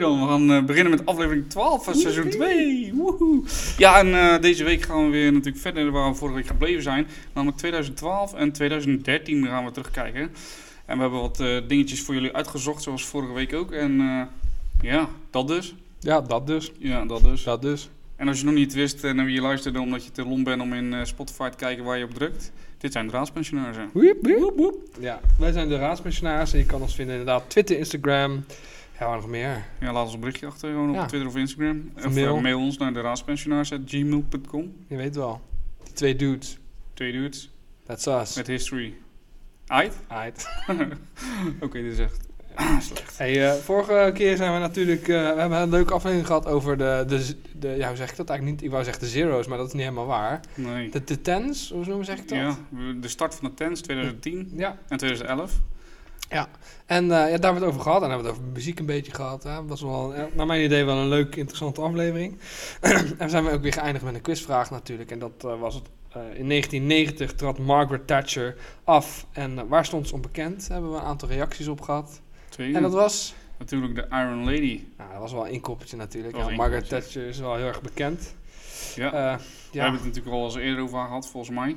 dan, we gaan eh, beginnen met aflevering 12 van seizoen 2. Woehoe. Ja, en eh, deze week gaan we weer natuurlijk verder waar we vorige week gebleven zijn. Namelijk 2012 en 2013 gaan we terugkijken. En we hebben wat eh, dingetjes voor jullie uitgezocht, zoals vorige week ook. En eh, ja, dat dus. Ja, dat dus. Ja, dat dus. Dat dus. En als je nog niet wist en je luisterde omdat je te lomp bent om in eh, Spotify te kijken waar je op drukt. Dit zijn de raadspensionarissen. Woep, woep, woep. Ja, wij zijn de raadspensionarissen. Je kan ons vinden inderdaad Twitter, Instagram. Ja, waar nog meer? Ja, laat ons een berichtje achter gewoon op Ja. Twitter of Instagram. Of mail. eh, mail ons naar de raadspensionaris.gmail.com. Je weet wel. Die twee dudes. Twee dudes That's us. met history. Aight? Aight. Oké, dit is echt slecht. Hey, eh, vorige keer zijn we natuurlijk... eh, we hebben een leuke aflevering gehad over de, de, z- de... Ja, hoe zeg ik dat eigenlijk niet? Ik wou zeggen de zeros, maar dat is niet helemaal waar. Nee. De, de tens, hoe noemen zeg ik dat? Ja, we- de start van de tens 2010 Ja. en 2011. En eh, ja, daar hebben we het over gehad. En hebben we het over muziek een beetje gehad. Hè. Dat was wel, eh, naar mijn idee, wel een leuke, interessante aflevering. en zijn we ook weer geëindigd met een quizvraag natuurlijk. En dat eh, was het. eh, in 1990 trad Margaret Thatcher af. En eh, waar stond ze onbekend? Daar hebben we een aantal reacties op gehad. Twee. En dat was... Natuurlijk de Iron Lady. Nou, dat was wel een inkoppertje natuurlijk. Dat was Ja, een Margaret inkoppertje. Thatcher is wel heel erg bekend. Ja. Eh, We ja. hebben het natuurlijk al eens eerder over gehad, volgens mij.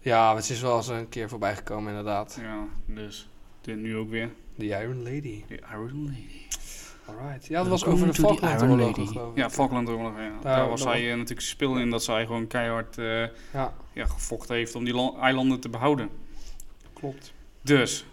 ja, het is wel eens een keer voorbij gekomen inderdaad. Ja, dus dit nu ook weer. The Iron Lady. De Iron Lady. Alright. Ja, dat was Welcome over de to the Iron Falklandoorlogen Lady. geloof ik. Ja, Falklandoorlog. Ja. Daar, Daar- was daar- hij eh, natuurlijk speel in dat zij gewoon keihard eh, ja ja, gevochten heeft om die la- eilanden te behouden. klopt. Dus,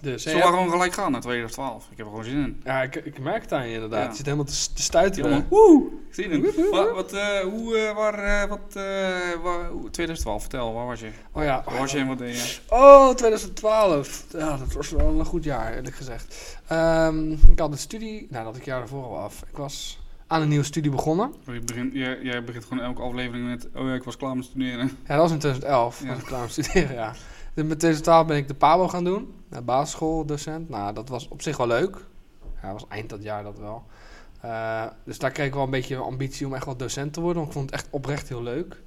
Dus, zullen we gewoon gelijk gaan naar 2012? Ik heb er gewoon zin in. Ja, ik, ik merk het aan je inderdaad. Ja. Je zit helemaal te, s- te stuiten. Helemaal, Woe! Zin in. Wat, wat, eh, hoe, eh, waar, eh, wat, eh, waar, hoe- 2012, vertel, waar was je? Oh ja. Waar was je en wat deed je? Oh, 2012. Ja, dat was wel een goed jaar, eerlijk gezegd. Ehm, ik had een studie... Nou, dat had ik jaar daarvoor al af. Ik was aan een nieuwe studie begonnen. Je begint, jij, jij begint gewoon elke aflevering met, oh ja, ik was klaar met studeren. Ja, dat was in 2011. Ja. was ik klaar om te studeren, ja. Dus met 2012 ben ik de PABO gaan doen. naar basisschooldocent. Nou, dat was op zich wel leuk. Ja, dat was eind dat jaar dat wel. Eh, dus daar kreeg ik wel een beetje ambitie om echt wel docent te worden. Want ik vond het echt oprecht heel leuk.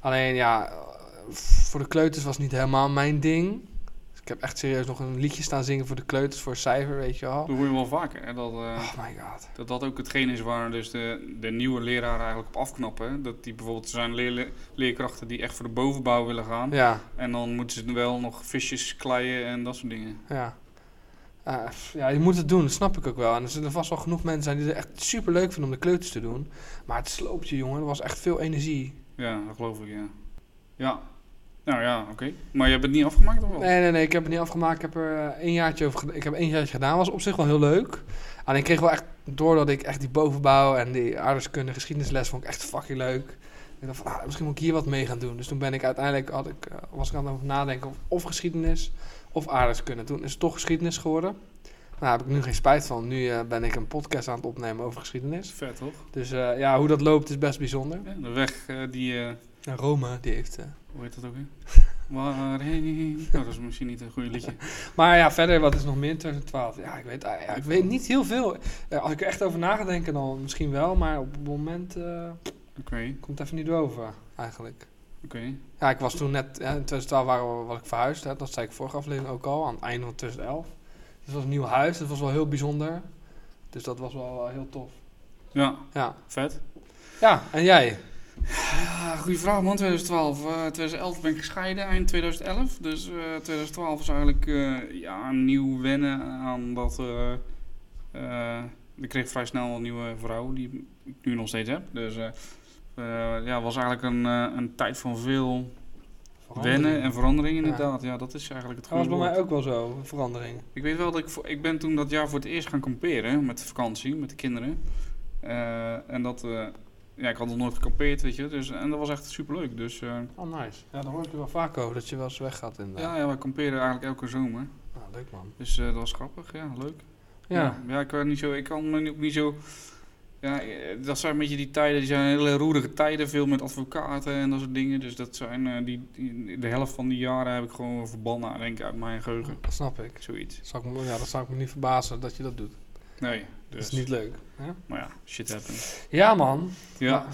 Alleen ja, eh, voor de kleuters was het niet helemaal mijn ding. Dus ik heb echt serieus nog een liedje staan zingen voor de kleuters, voor cijfer, weet je wel. Dat hoor je wel vaker, hè? Dat, eh, Oh my god. dat dat ook hetgeen is waar dus de, de nieuwe leraren eigenlijk op afknappen. hè. Dat die bijvoorbeeld, er zijn leerle- leerkrachten die echt voor de bovenbouw willen gaan. Ja, En dan moeten ze wel nog visjes kleien en dat soort dingen. ja. Eh, pff, ja, je moet het doen, dat snap ik ook wel. En er zullen vast wel genoeg mensen zijn die het echt super leuk vinden om de kleuters te doen. Maar het sloopt je, jongen. Er was echt veel energie. Ja, dat geloof ik, ja. Ja. Nou ja, oké. Maar je hebt het niet afgemaakt of wel? Oh. Nee, nee, nee, ik heb het niet afgemaakt. Ik heb er eh, een jaartje over gedaan. Ik heb één jaartje gedaan. was op zich wel heel leuk. En ik kreeg wel echt, doordat ik echt die bovenbouw en die aardrijkskunde geschiedenisles vond ik echt fucking leuk. Ik dacht van, ah, misschien moet ik hier wat mee gaan doen. Dus toen ben ik uiteindelijk, had ik, eh, was ik aan het over nadenken of, of geschiedenis of aardrijkskunde. Toen is het toch geschiedenis geworden. Nou, daar heb ik nu geen spijt van. Nu eh, ben ik een podcast aan het opnemen over geschiedenis. Vet, toch? Dus eh, ja, hoe dat loopt is best bijzonder. Ja, de weg eh, die... eh, En Rome, die heeft... eh, hoe heet dat ook weer? Waarheen? Nou, dat is misschien niet een goed liedje. Maar ja, verder, wat is nog meer in 2012? Ja, ik weet, ah, ja, ik weet niet heel veel. Ja, als ik er echt over na ga denken, dan misschien wel. Maar op het moment eh, Oké, komt het even niet over, eigenlijk. oké. Ja, ik was toen net... Ja, in 2012 waren we, was ik verhuisd. Hè, dat zei ik vorige aflevering ook al, aan het einde van 2011. Dus het was een nieuw huis. Dat was wel heel bijzonder. Dus dat was wel eh, heel tof. Ja, Ja. vet. ja, en jij? Ja, goede vraag man, 2012. Eh, 2011 ben ik gescheiden, eind 2011. Dus eh, 2012 is eigenlijk eh, ja, een nieuw wennen aan dat... eh, eh, ik kreeg vrij snel een nieuwe vrouw, die ik nu nog steeds heb. Dus eh eh, ja, het was eigenlijk een, eh, een tijd van veel Verandering. Wennen en verandering Ja. inderdaad. Ja, dat is eigenlijk het Dat was goede bij woord. mij ook wel zo, een verandering. Ik weet wel dat ik... voor- Ik ben toen dat jaar voor het eerst gaan kamperen met de vakantie, met de kinderen. Eh, en dat... eh, ja, ik had nog nooit gekampeerd, weet je. Dus, en dat was echt superleuk. Dus eh, Oh, nice. Ja, daar hoor ik je wel vaak over, dat je wel eens weg gaat inderdaad. ja, ja, we kamperen eigenlijk elke zomer. Nou, leuk man. Dus eh, dat was grappig, ja, leuk. Ja. Ja, ik, weet niet zo, ik kan me ook niet zo... Ja, eh, dat zijn een beetje die tijden, die zijn hele roerige tijden. Veel met advocaten en dat soort dingen. Dus dat zijn... eh, die, die- de helft van die jaren heb ik gewoon verbannen, denk ik, uit mijn geheugen. Dat snap ik. Zoiets. Zou ik me, ja, dat zou ik me niet verbazen dat je dat doet. Nee, Dat dus. is niet leuk. Hè? Maar ja, shit happens. Ja, man. Ja.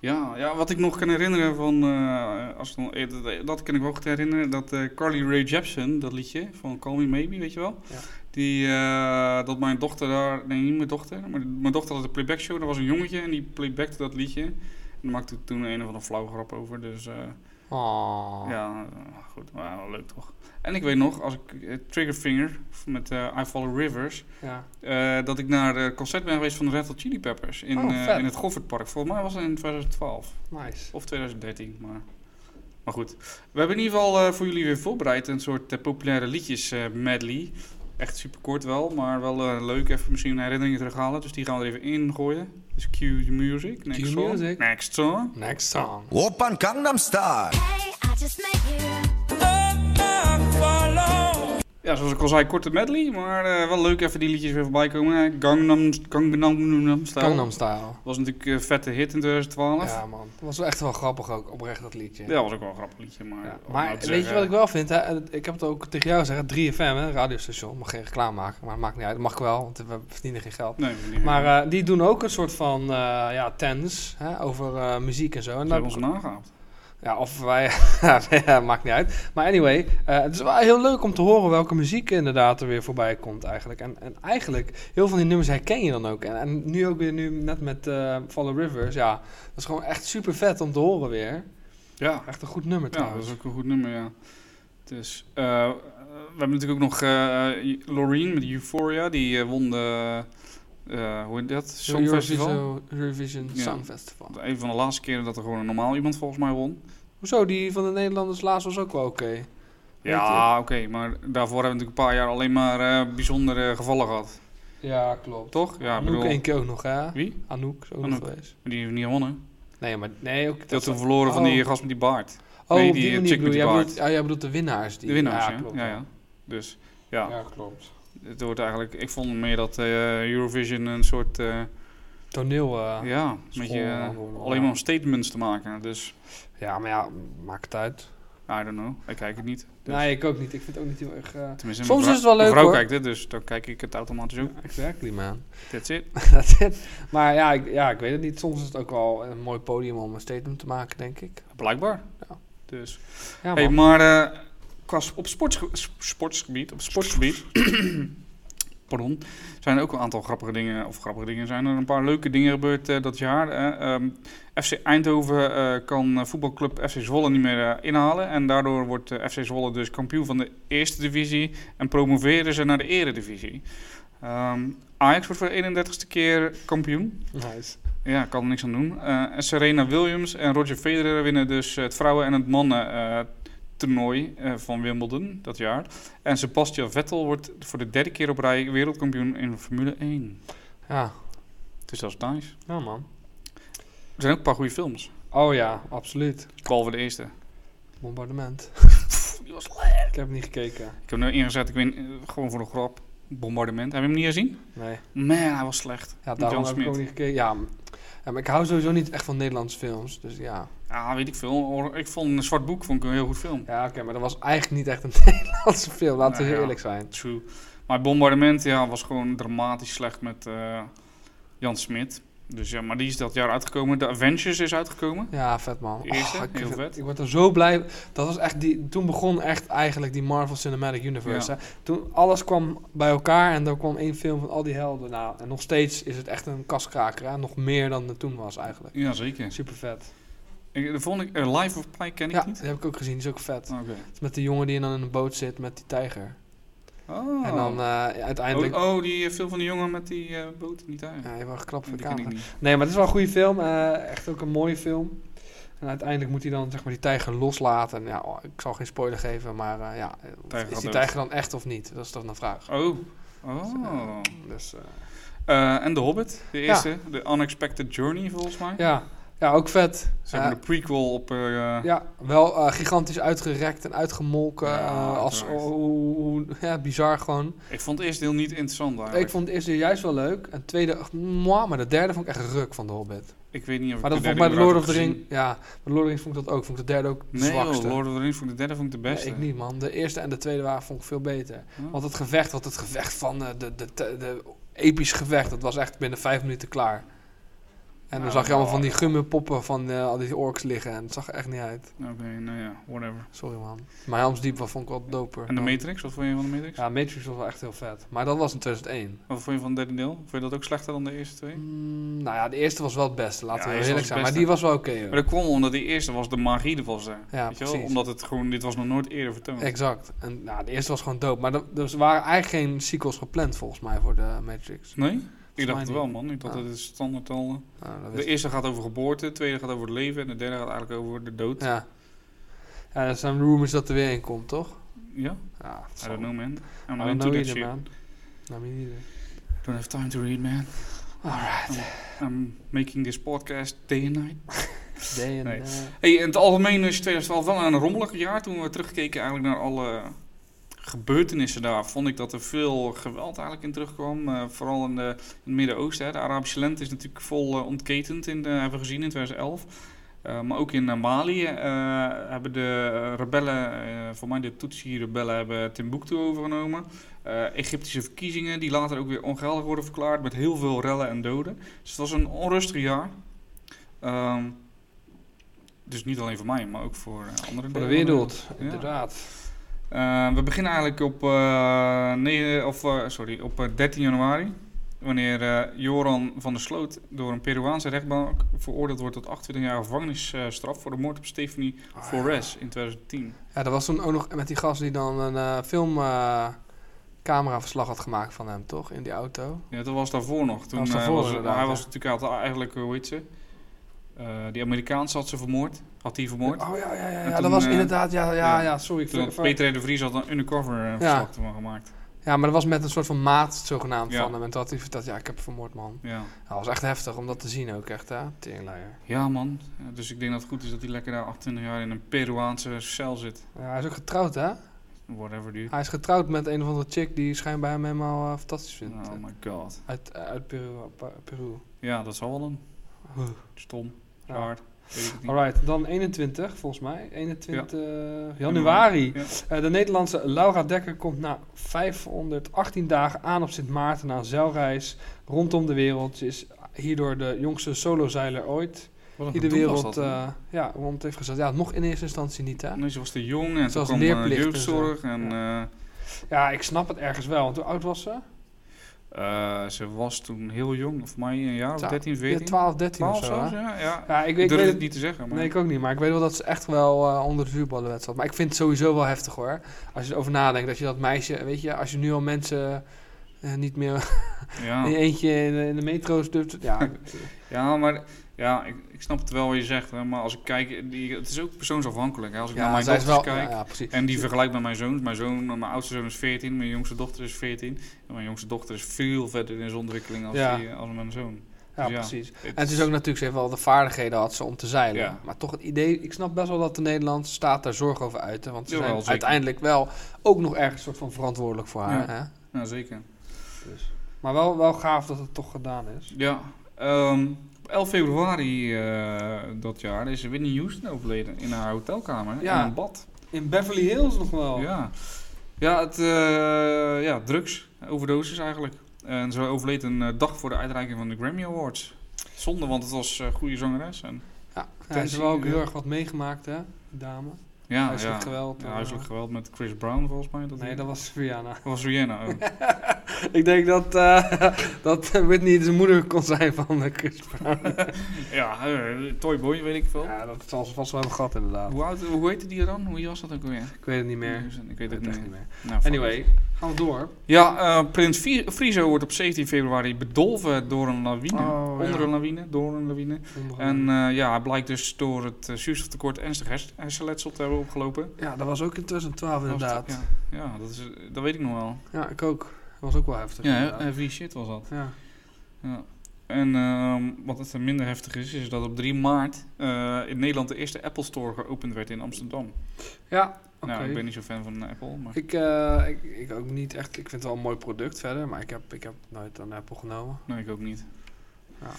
Ja, ja, wat ik nog kan herinneren van. eh, als het dan- eh, dat, dat kan ik me ook goed herinneren. Dat eh, Carly Rae Jepsen, dat liedje van Call Me Maybe, weet je wel. Ja. Die, eh, dat mijn dochter daar. Nee, niet mijn dochter. Maar mijn dochter had een playback show. Er was een jongetje en die playbackte dat liedje. En daar maakte ik toen een of andere flauwe grap over. Dus eh, Oh. ja, eh, goed. Maar wel leuk toch. En ik weet nog, als ik eh, Triggerfinger met eh, I Follow Rivers. Ja. eh, dat ik naar het concert ben geweest van de Red Hot Chili Peppers. In, Oh, eh, vet. in het Goffertpark. Volgens mij was het in 2012. Nice. Of 2013, maar... Maar goed. We hebben in ieder geval eh, voor jullie weer voorbereid een soort eh, populaire liedjes eh, medley. Echt super kort wel, maar wel eh, leuk. Even misschien herinneringen terughalen. Dus die gaan we er even in gooien. Dus cue the music. Next Cue song. music. Next song. Next song. 오빤 강남스타일 Hey, I just met you. Ja, zoals ik al zei, korte medley. Maar eh, wel leuk even die liedjes weer voorbij komen. Eh, Gangnam, Gangnam Style. Gangnam Style. Was natuurlijk een vette hit in 2012. Ja, Ja, man. Dat was wel echt wel grappig ook, oprecht dat liedje. dat was ook wel een grappig liedje. Maar, Ja, om Maar nou weet te je zeggen- wat ik wel vind? Hè? Ik heb het ook tegen jou gezegd, 3FM, hè, radiostation, mag geen reclame maken, maar maakt niet uit, mag wel, want we verdienen geen geld. Nee, niet Maar eh, die doen ook een soort van eh ja, tens hè, over eh, muziek en zo. En Ze daar- hebben ons nagehaald. ja, of wij, ja, maakt niet uit. Maar anyway, eh, het is wel heel leuk om te horen welke muziek inderdaad er weer voorbij komt eigenlijk. En, en eigenlijk, heel veel van die nummers herken je dan ook. En, en nu ook weer, nu net met eh Follow Rivers, ja, dat is gewoon echt super vet om te horen weer. Ja, Echt een goed Ja, nummer dat trouwens. is ook een goed nummer, ja. Dus, eh, we hebben natuurlijk ook nog eh Loreen met Euphoria. Die eh, won de, eh, hoe heet dat? Zo'n Songfestival. Eurovision Ja. Song Festival. Een van de laatste keren dat er gewoon een normaal iemand volgens mij won. Hoezo, die van de Nederlanders laatst was ook wel oké. Ja, oké, maar daarvoor hebben we natuurlijk een paar jaar alleen maar eh, bijzondere gevallen gehad. Ja, klopt. Toch? Ja, ik Anouk bedoel... één keer ook nog, hè? Wie? Anouk is ook nog Anouk. geweest. Maar Die heeft niet gewonnen. Nee, maar nee, ook... Die had toen verloren van Oh. die gast met die baard. oh, nee, op die eh, die manier chick met bedoel je. die Jij baard. bedoelt, ja, jij bedoelt de winnaars. Die, De winnaars, ja. klopt, ja, ja. Dus, ja. Ja, klopt. Het wordt eigenlijk... Ik vond meer dat eh, Eurovision een soort... eh, Toneel, eh, ja. Ja, een beetje, school, eh, antwoorden, alleen ja. maar om statements te maken. Dus, maar ja, maakt het uit. I don't know. Ik kijk het niet. Dus, Nee, ik ook niet. Ik vind het ook niet heel erg... eh, Tenminste, Soms mijn is het wel vrou- leuk, Mijn vrouw hoor. kijkt dit, dus dan kijk ik het automatisch ook. Exactly, man. That's it. That's it. maar ja ik, ja, ik weet het niet. Soms is het ook wel een mooi podium om een statement te maken, denk ik. Blijkbaar. Ja. Dus. Ja, hey, man. maar eh, qua s- op sportsge- s- sportsgebied, op sportsgebied pardon, zijn er ook een aantal grappige dingen, of grappige dingen, zijn er een paar leuke dingen gebeurd eh, dat jaar. eh. Ehm, FC Eindhoven eh, kan eh, voetbalclub FC Zwolle niet meer eh, inhalen en daardoor wordt eh, FC Zwolle dus kampioen van de eerste divisie en promoveren ze naar de eredivisie. Ehm, Ajax wordt voor de 31ste keer kampioen. Nice. Ja, ik kan er niks aan doen. Eh, en Serena Williams en Roger Federer winnen dus het vrouwen- en het mannen-toernooi eh, van Wimbledon dat jaar. En Sebastian Vettel wordt voor de derde keer op rij wereldkampioen in Formule 1. Ja, Dus dat is nice. ja man. Er zijn ook een paar goede films. Oh ja, absoluut. Behalve de eerste. Bombardement. Die was Ik heb niet gekeken. Ik heb hem nu ingezet, ik weet, eh, gewoon voor de grap. Bombardement. Heb je hem niet gezien? Nee. Man, hij was slecht. Ja, Met daarom John heb ik Smith. ook niet gekeken. Ja, m- ja, maar ik hou sowieso niet echt van Nederlandse films. Dus ja. Ja, weet ik veel. Ik vond een zwart boek vond ik een heel goed film. Ja, oké, maar dat was eigenlijk niet echt een Nederlandse film. Laten we Nou heel ja. eerlijk zijn. True. Maar bombardement ja, was gewoon dramatisch slecht met eh, Jan Smit. Dus ja, maar die is dat jaar uitgekomen. De Avengers is uitgekomen. Ja, vet man. Oh, De eerste, ik, heel vind- vet. ik word er zo blij. Dat was echt die, toen begon echt eigenlijk die Marvel Cinematic Universe. hè. Toen alles kwam bij elkaar en dan kwam één film van al die helden. Nou, en nog steeds is het echt een kaskraker. Hè? Nog meer dan het toen was eigenlijk. Ja, zeker. Super vet. Ik, de volgende, eh, Life of Pi ken ik Ja, niet. die heb ik ook gezien. Die is ook vet. Oké. Het is met die jongen die dan in een boot zit met die tijger. Oh. En dan eh, uiteindelijk... oh, oh, die eh, film van de jongen met die eh, boot niet uit. Ja, je hebt wel knap die voor ken ik camera. niet. Nee, maar het is wel een goede film. eh, echt ook een mooie film. En uiteindelijk moet hij dan zeg maar, die tijger loslaten. En Ja, oh, ik zal geen spoiler geven, maar eh, ja, eh, Tijger gaat is die dood. tijger dan echt of niet? Dat is toch een vraag. Oh. Oh. Dus, eh, Eh, en The Hobbit, de Ja. eerste. de Unexpected Journey, volgens mij. ja. ja, ook vet. Zeg maar Ja. de prequel op... eh, Ja, wel eh, gigantisch uitgerekt en uitgemolken. Ja, eh, als, uiteraard. hoe- hoe- ja, bizar gewoon. Ik vond het eerste deel niet interessant eigenlijk. Ik vond het eerste juist wel leuk. En het tweede, ach, mwah, maar de derde vond ik echt ruk van de Hobbit. Ik weet niet of Maar ik dat vond ik bij derde de Lord of the überhaupt heb Rings. Ja, bij de Lord of the Rings vond ik dat ook. Vond ik de derde ook de gezien. Nee, zwakste. joh, Lord of the Rings vond ik de derde vond ik de beste. Nee, ik niet, man. De eerste en de tweede waren vond ik veel beter. Ja. Want het gevecht, wat het gevecht van eh, de, de, de, de episch gevecht, dat was echt binnen vijf minuten klaar. En dan Nou, zag je allemaal van die gummenpoppen van eh, al die orks liggen. En het zag er echt niet uit. Oké, nou ja, whatever. Sorry man. Maar Helms Diep was- vond ik wel doper. En de Matrix, wat vond je van de Matrix? Ja, Matrix was wel echt heel vet. Maar dat was in 2001. Wat vond je van het derde deel? Vond je dat ook slechter dan de eerste twee? Mm, nou ja, de eerste was wel het beste. Hm. Ja, Laten de we eerste eerlijk was zijn. het Maar beste. die was wel oké. hoor. Maar dat kwam omdat die eerste was de magie er was daar. Ja, weet je wel? precies. Omdat het gewoon, dit was nog nooit eerder vertoond. Exact. En nou, de eerste was gewoon dope. Maar er dus er waren eigenlijk geen sequels gepland volgens mij voor de Matrix. nee? Ik dacht mij het niet. wel man, ik dacht Ja. dat het standaard al... eh, Nou, dat De wist eerste gaat over geboorte, de tweede gaat over het leven en de derde gaat eigenlijk over de dood. Ja? Ja. Ja, er zijn rumors dat er weer een komt, toch? Ja, I don't know man. I'm I not don't into know that either, shit. man. Nou, me neither. Don't have time to read man. Alright. I'm making this podcast day and night. Day and uh, Nee. night. Hey, in het algemeen is 2012 wel een rommelig jaar. Toen we terugkeken eigenlijk naar alle gebeurtenissen daar, vond ik dat er veel geweld eigenlijk in terugkwam. Eh, vooral in, de, in het Midden-Oosten. hè. De Arabische lente is natuurlijk vol eh, ontketend, in de, hebben we gezien in 2011. Eh, maar ook in eh, Mali eh, hebben de eh, rebellen, eh, voor mij de Tutsi-rebellen, hebben Timbuktu overgenomen. Eh, Egyptische verkiezingen, die later ook weer ongeldig worden verklaard, met heel veel rellen en doden. Dus het was een onrustig jaar. Ehm, dus niet alleen voor mij, maar ook voor eh, anderen. Voor de wereld, Ja. inderdaad. Eh, we beginnen eigenlijk op, eh, nee, of, eh, sorry, op eh, 13 januari. Wanneer eh, Joran van der Sloot door een Peruaanse rechtbank veroordeeld wordt tot 28 jaar gevangenisstraf voor de moord op Stephanie Ah, Flores in 2010. Ja, dat was toen ook nog met die gast die dan een eh film... eh, cameraverslag had gemaakt van hem, toch? In die auto. Ja, dat was daarvoor nog. Toen, was eh, daarvoor was, inderdaad, hij ja. was natuurlijk had eigenlijk, eh, hoe heet ze? Eh, die Amerikaanse had ze vermoord. Had die vermoord. Oh ja, ja, ja. En ja toen, dat was eh, inderdaad... Ja, ja, ja. ja, sorry. Ik Toen had ver- ver- Peter R. de Vries had een undercover eh, verslag ervan gemaakt. Ja, maar dat was met een soort van maat zogenaamd Ja. van hem. En dat hij vertelt, ja, ik heb vermoord, man. Ja. Ja, dat was echt heftig om dat te zien ook, echt, hè? Teringleier. ja man, Eh, dus ik denk dat het goed is dat hij lekker daar 28 jaar in een Peruaanse cel zit. Ja, hij is ook getrouwd, hè? Whatever dude. Hij is getrouwd met een of andere chick die schijnbaar hem helemaal eh, fantastisch vindt. Oh my god. Uit, eh, uit Peru. Pa- Peru. Ja, dat zal wel een Huh. stom, Ja. raar, weet ik het niet. Alright, dan 21 volgens mij. 21 januari. Ja. Eh, de Nederlandse Laura Dekker komt na 518 dagen aan op Sint Maarten na een zeilreis rondom de wereld. Ze is hierdoor de jongste solozeiler ooit Wat een die de gedoe was wereld dat, hè? eh, ja, rond heeft gezet. Ja, nog in eerste instantie niet hè. nee, ze was te jong en toen Zoals kwam eh, leerplicht en jeugdzorg. zo. En, Ja, ik snap het ergens wel. Want hoe oud was ze? eh, eh, ze was toen heel jong, of mij een jaar of Twa- 13, Ja, 14. 12, 13 of zo. hè? ja. ja. Ja, ik, Ik, weet- ik durf weet het het niet te zeggen, maar Nee, ik ook niet. Maar ik weet wel dat ze echt wel eh, onder de vuurballenwet zat. Maar ik vind het sowieso wel heftig hoor. Als je erover nadenkt, dat je dat meisje... Weet je, als je nu al mensen eh, niet meer in ja. je eentje in de, in de metro's durft... Ja, Oh. ja, maar ja, ik, ik snap het wel wat je zegt, hè, maar als ik kijk, die, het is ook persoonsafhankelijk. Hè. Als ik naar ja mijn zij is dochters wel... kijk, Ja, ja, precies. En die vergelijkt met mijn zoons. Mijn, zoon, mijn oudste zoon is 14, mijn jongste dochter is 14. En mijn jongste dochter is veel verder in zijn ontwikkeling als, Ja. die, eh, als mijn zoon. ja, ja. precies. Het En het is ook natuurlijk... Ze heeft wel de vaardigheden had ze om te zeilen. Ja. Maar toch het idee... Ik snap best wel dat de Nederlandse staat daar zorg over uitte. Want ze Jawel, zijn zeker. uiteindelijk wel ook nog ergens soort van verantwoordelijk voor haar. Ja. Hè? Ja, zeker. Maar wel, wel gaaf dat het toch gedaan is. Ja. ehm, op 11 februari eh, dat jaar is Whitney Houston overleden in haar hotelkamer Ja. Oh. in een bad. In Beverly Hills nog wel. Ja, ja, het, eh, ja drugs, overdosis eigenlijk. En ze overleed een eh, dag voor de uitreiking van de Grammy Awards. Zonde, want het was een goede zangeres. En, Ja, ja, ze Tenzij- heeft wel ook heel erg wat meegemaakt, hè, die dame. ja, Huiselijk ja. geweld, Ja, eh. huiselijk geweld met Chris Brown volgens mij. Dat Nee, dat was Rihanna. was Rihanna. oh. Ik denk dat, eh, dat Whitney de moeder kon zijn van eh, Chris Brown. Ja, eh, Toyboy, weet ik veel. Ja, dat zal ze vast wel hebben gehad, inderdaad. Hoe, oud, hoe heette die dan? Hoe was dat ook weer? Ik weet het niet meer. Ik Ik weet het weet het echt niet. niet meer. meer. Nou, fuck it. Anyway, gaan we door. Ja, eh, Prins Fri- Friso wordt op 17 februari bedolven door een lawine. Oh, ja. Oh. Onder een lawine, door een lawine. En eh, ja, hij blijkt dus door het eh, zuurstoftekort ernstig hers- hersenletsel te hebben opgelopen. ja, dat was ook in 2012 inderdaad. Ja, Ja. ja dat, is, eh, dat weet ik nog wel. ik ook. Dat was ook wel heftig. Ja, eh, inderdaad. heavy shit was dat. ja. Ja. En ehm, wat het minder heftig is, is dat op 3 maart eh, in Nederland de eerste Apple Store geopend werd in Amsterdam. ja oké. Nou, ik ben niet zo fan van Apple, maar... Ik, eh, ik, ik ook niet echt. Ik vind het wel een mooi product verder, maar ik heb, ik heb nooit een Apple genomen. Nee, ik ook niet. Ja.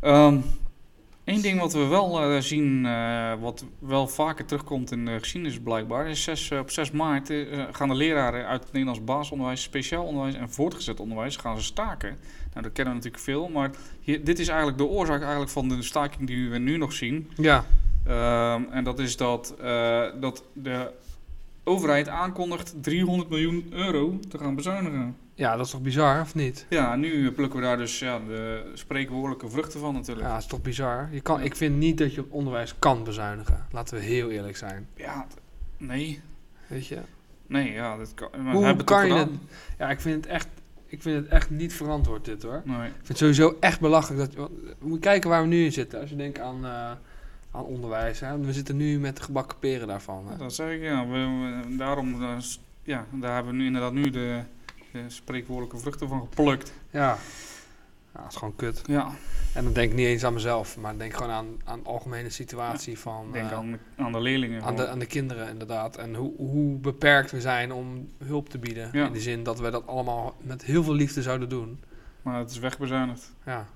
Ehm, Eén ding wat we wel eh, zien, eh, wat wel vaker terugkomt in de geschiedenis blijkbaar, is zes, eh, op 6 maart eh, gaan de leraren uit het Nederlands basisonderwijs, speciaal onderwijs en voortgezet onderwijs gaan ze staken. Nou, dat kennen we natuurlijk veel, maar hier- dit is eigenlijk de oorzaak eigenlijk van de staking die we nu nog zien. Ja, Ehm, en dat is dat, eh, dat de overheid aankondigt 300 miljoen euro te gaan bezuinigen. ja, dat is toch bizar, of niet? Ja, nu plukken we daar dus ja, de spreekwoordelijke vruchten van natuurlijk. Ja, dat is toch bizar. Je kan, ik vind niet dat je op onderwijs kan bezuinigen. Laten we heel eerlijk zijn. Ja, t- nee. Weet je? Nee, ja, dat kan. Maar Hoe hebben kan het je toch het? gedaan? Ja, ik vind het echt, ik vind het echt niet verantwoord dit hoor. Nee. Ik vind het sowieso echt belachelijk. Dat, want we moeten kijken waar we nu in zitten. Als je denkt aan, eh, aan onderwijs. Hè? We zitten nu met de gebakken peren daarvan. hè. Dat zeg ik, ja. We, we- daarom, eh, s- ja, daar hebben we nu inderdaad nu de, de spreekwoordelijke vruchten van geplukt. Ja. ja, dat is gewoon kut. Ja, En dan denk ik niet eens aan mezelf. Maar dan denk ik gewoon aan, aan de algemene situatie van... ik denk eh, aan, de- aan de leerlingen. aan de, gewoon. aan de kinderen inderdaad. En hoe, hoe beperkt we zijn om hulp te bieden. Ja. In de zin dat we dat allemaal met heel veel liefde zouden doen. Maar het is wegbezuinigd. Ja.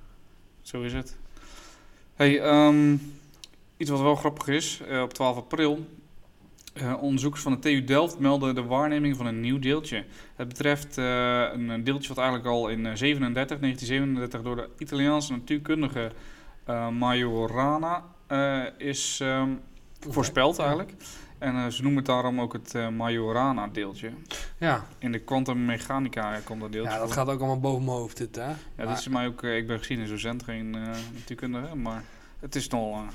Zo is het. Hey, ehm, iets wat wel grappig is. eh, op 12 april. eh onderzoekers van de TU Delft melden de waarneming van een nieuw deeltje. Het betreft eh, een een deeltje wat eigenlijk al in eh, 37, 1937 door de Italiaanse natuurkundige eh, Majorana eh, is ehm, voorspeld eigenlijk. En eh, ze noemen het daarom ook het eh, Majorana-deeltje. Ja. In de kwantummechanica komt dat deeltje ja, dat voor. gaat ook allemaal boven mijn hoofd dit, hè. Ja, Maar- dit is mij ook, eh, ik ben gezien als docent, geen eh natuurkundige, maar het is nogal eh,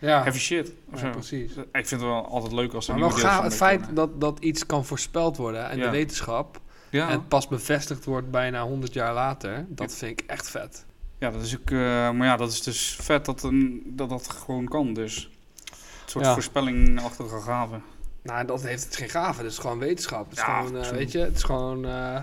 ja. heavy shit. of Ah. Ja, zo. Dus, eh, precies. Ik vind het wel altijd leuk als er Maar wel nieuwe gaaf het deeltjes van feit dat, dat iets kan voorspeld worden en Ja. de wetenschap Ja. en pas bevestigd wordt bijna 100 jaar later, dat vind ik echt vet. ja, dat is ook, eh, maar ja, dat is dus vet dat een, dat, dat gewoon kan, dus. Een soort Ja. voorspellingachtige gave. Nou, dat heeft het is geen gave, dat is gewoon wetenschap. Het is Ja, gewoon, eh, true. weet je, het is gewoon, eh,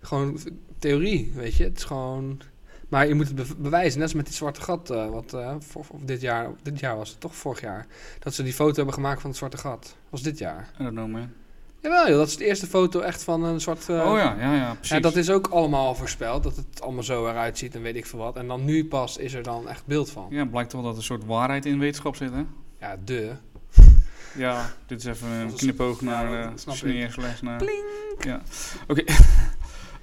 gewoon theorie, weet je. Het is gewoon, maar je moet het bev- bewijzen. Net als met die zwarte gat, eh, wat eh, voor, of dit, jaar, dit jaar was het toch, vorig jaar, dat ze die foto hebben gemaakt van het zwarte gat. Was dit jaar. I don't know, man. Jawel, joh, dat is de eerste foto echt van een zwart... eh, oh ja, ja, ja, precies. Ja, dat is ook allemaal voorspeld, dat het allemaal zo eruit ziet en weet ik veel wat. En dan nu pas is er dan echt beeld van. Ja, blijkt wel dat er een soort waarheid in wetenschap zit, hè? Ja, de. Ja, dit is even Dat een is- knipoog ja, naar Nou, dat eh snap ik. sneer slash naar... Ja, oké.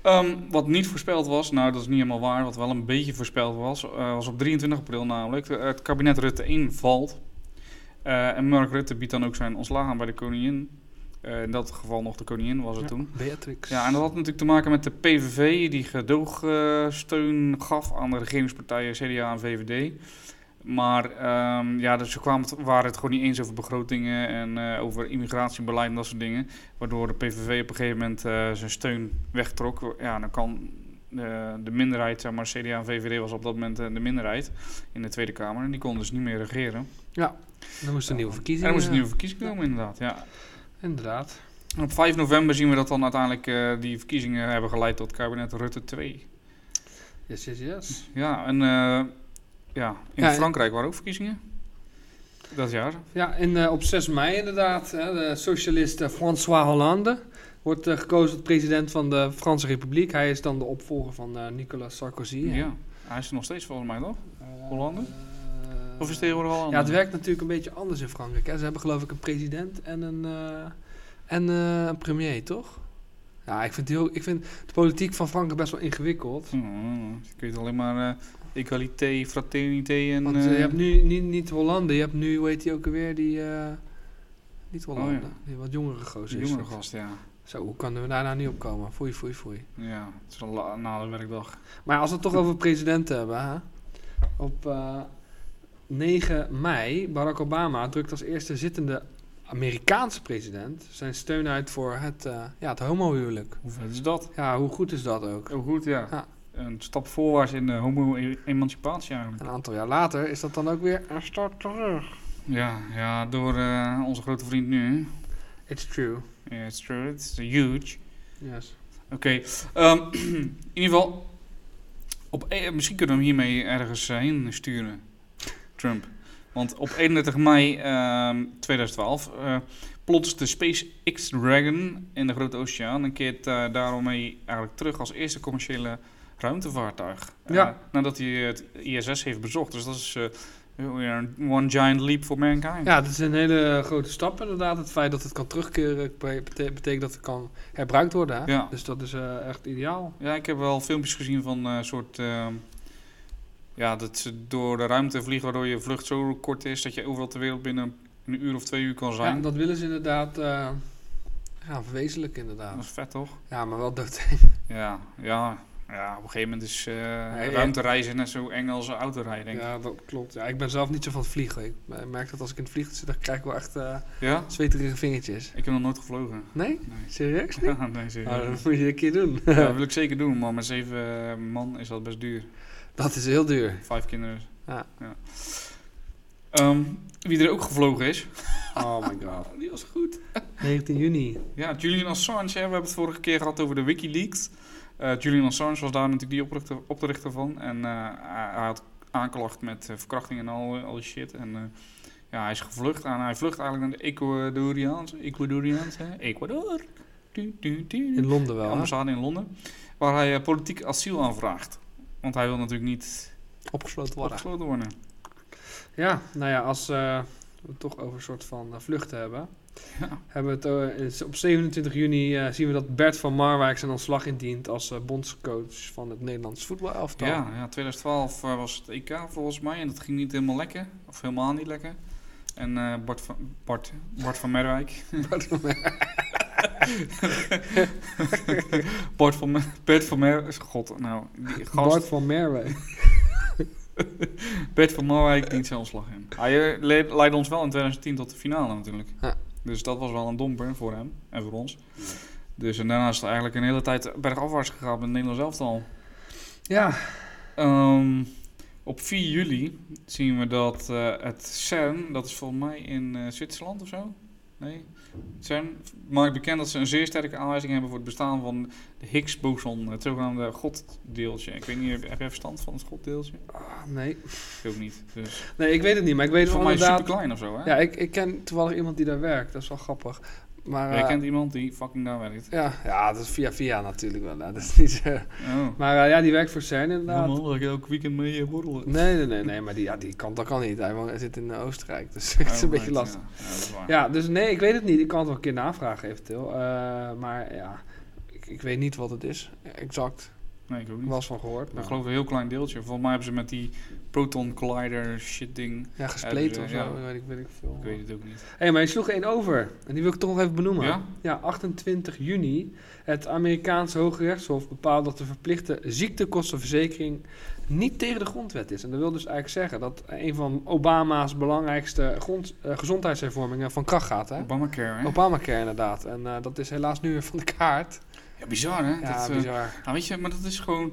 Ehm, wat niet voorspeld was, nou dat is niet helemaal waar, wat wel een beetje voorspeld was, eh, was op 23 april namelijk, eh, het kabinet Rutte 1 valt. Eh, en Mark Rutte biedt dan ook zijn ontslag aan bij de koningin. Eh, in dat geval nog de koningin was het Ja. toen. Beatrix. Ja, en dat had natuurlijk te maken met de PVV, die gedoogsteun gaf aan de regeringspartijen CDA en VVD. Maar ehm, ja, dus ze kwamen het, waren het gewoon niet eens over begrotingen en eh, over immigratiebeleid en dat soort dingen. Waardoor de PVV op een gegeven moment eh, zijn steun wegtrok. Ja, dan kan eh, de minderheid, zeg maar CDA en VVD was op dat moment eh, de minderheid in de Tweede Kamer. En die konden dus niet meer regeren. Dan moest er een nieuwe En verkiezing. er moest een eh, nieuwe verkiezing komen inderdaad, ja. Inderdaad. En op 5 november zien we dat dan uiteindelijk eh, die verkiezingen hebben geleid tot kabinet Rutte 2. Yes, yes, yes. Ja, en eh, ja, in Ja, en- Frankrijk waren ook verkiezingen. Dat jaar. Ja, en eh, op 6 mei inderdaad, hè, de socialist eh, François Hollande wordt eh, gekozen tot president van de Franse Republiek. Hij is dan de opvolger van eh, Nicolas Sarkozy. Ja. hè. Hij is er nog steeds volgens mij, toch? Eh, Hollande? eh, Of is het tegenwoordig al Ja, het werkt natuurlijk een beetje anders in Frankrijk. Hè. Ze hebben geloof ik een president en een, eh, en, eh, een premier, toch? Ja, ik vind, heel, ik vind de politiek van Frankrijk best wel ingewikkeld. Hmm, je kunt alleen maar eh equalité, fraternité en... Want eh, eh, je hebt nu niet, niet Hollande, je hebt nu, hoe heet die ook alweer, die... eh, niet Hollande, Oh, ja. die wat jongere gozer die is. jongere dat. gast, ja. Zo, hoe kunnen we daar nou niet op komen? Foei, foei, foei. Ja, het is een la- na de werkdag. Maar als we het toch over presidenten hebben, hè? Op eh, 9 mei, Barack Obama drukt als eerste zittende Amerikaanse president zijn steun uit voor het, eh, ja, het homohuwelijk. Hoe vet is dat? Ja, hoe goed is dat ook? Heel goed, ja. Ja. Een stap voorwaarts in de homo-emancipatie eigenlijk. Een aantal jaar later is dat dan ook weer een start terug. Ja, ja door eh, onze grote vriend nu. eh, It's true. Yeah, it's true, it's huge. Yes. Oké, ehm, in ieder geval, op, e- misschien kunnen we hem hiermee ergens eh, heen sturen, Trump. Want op 31 mei ehm, 2012 eh plotst de SpaceX Dragon in de Grote Oceaan en keert eh, daarmee eigenlijk terug als eerste commerciële ruimtevaartuig. Eh, Ja. Nadat hij het ISS heeft bezocht. Dus dat is eh, Weer een One giant leap for mankind. Ja, het is een hele grote stap inderdaad. Het feit dat het kan terugkeren bete- betekent dat het kan herbruikt worden. Hè? Ja. Dus dat is eh, echt ideaal. Ja, ik heb wel filmpjes gezien van een soort. ehm, ja, dat ze door de ruimte vliegen, waardoor je vlucht zo kort is dat je overal ter wereld binnen een uur of twee uur kan Ja, zijn. dat willen ze inderdaad eh gaan verwezenlijken inderdaad. dat is vet toch? Ja, maar wel dood. Ja, ja, ja op een gegeven moment is eh ja. ruimtereizen net zo eng als autorijden, denk ik. Ja, dat klopt. Ja, ik ben zelf niet zo van het vliegen. Ik eh, merk dat als ik in het vliegtuig zit, dan krijg ik wel echt eh, Ja? zweterige vingertjes. Ik heb nog nooit gevlogen. Nee? Nee. Serieus? Ja, nee, serieus. Nou, dat moet je een keer doen. Ja, dat wil ik zeker doen, maar met zeven eh, man is dat best duur. dat is heel duur. Vijf kinderen. Ja. Ehm, wie er ook gevlogen is. Oh my god. Die was goed. 19 juni. Ja, Julian Assange. Hè, we hebben het vorige keer gehad over de Wikileaks. Eh, Julian Assange was daar natuurlijk die oprichter, oprichter van. En eh, hij hij had aanklacht met eh, verkrachting en al, al die shit. En eh, ja, hij is gevlucht. En hij vlucht eigenlijk naar de Ecuadoriaans. Ecuadoriaans, hè? Ecuador. Du, du, du. In Londen wel, hè? ambassade in Londen. Waar hij eh, politiek asiel aanvraagt. Want hij wil natuurlijk niet Opgesloten worden. opgesloten worden. Ja, nou ja, als eh, we het toch over een soort van eh, vluchten hebben. Ja. Hebben we het, eh, is- op 27 juni eh, zien we dat Bert van Marwijk zijn ontslag indient als eh, bondscoach van het Nederlands voetbalelftal. Ja, ja, 2012 eh, was het EK volgens mij en dat ging niet helemaal lekker. Of helemaal niet lekker. En eh, Bart, van, Bart, Bart van Merwijk. Bert van Marwijk. Bart van, Mer- Bert van Merwijk. God, nou, die gast. Bart Bert, van Merwijk. van Merwijk dient zijn ontslag in. Hij eh, le- leidde ons wel in 2010 tot de finale natuurlijk. Ja. Dus dat was wel een domper voor hem en voor ons. Dus en daarna is het eigenlijk een hele tijd bergafwaarts gegaan met het Nederlands elftal. Ja, Ehm, op 4 juli zien we dat eh, het CERN, dat is volgens mij in eh, Zwitserland of zo? Nee. Het CERN maakt bekend dat ze een zeer sterke aanwijzing hebben voor het bestaan van de Higgs-boson, het zogenaamde goddeeltje. Ik weet niet, heb- heb jij verstand van het goddeeltje? Ah, nee. Ik ook niet. Dus Nee, ik weet het niet, maar ik weet voor wel mij inderdaad... super klein of zo, hè? Ja, ik, ik ken toevallig iemand die daar werkt. Dat is wel grappig. Maar, Jij eh, kent iemand die fucking daar werkt. ja, ja, dat is via via natuurlijk wel. hè. Dat is niet zo... Oh. Maar eh, ja, die werkt voor CERN inderdaad. man, dat ik elk weekend mee eh, borrelen. Nee, nee, nee, nee, maar die, ja, die kan, dat kan niet. Hij woont- hij zit in eh, Oostenrijk, dus het is een Oh, beetje right, lastig. Ja, Ja, dat is waar. Ja, dus nee, ik weet het niet. Ik kan het wel een keer navragen eventueel. Eh, maar ja, ik, ik weet niet wat het is. Exact. Nee, ik ook Ik niet. was van gehoord. Ik Maar geloof een heel klein deeltje. Volgens mij hebben ze met die proton collider shit ding. ja, gespleten Ja, of dus, zo, ja. weet, ik, weet ik veel. Ik weet het ook niet. Hé, hey, maar je sloeg één over. En die wil ik toch nog even benoemen. Ja? 28 juni. Het Amerikaanse Hoge Rechtshof bepaalt dat de verplichte ziektekostenverzekering niet tegen de grondwet is. En dat wil dus eigenlijk zeggen dat een van Obama's belangrijkste grond- eh, gezondheidshervormingen van kracht gaat. Hè? Obamacare, hè? Obamacare inderdaad. En eh, dat is helaas nu weer van de kaart. Ja, bizar, hè? Ja, dat, eh, bizar. nou, weet je, maar dat is gewoon...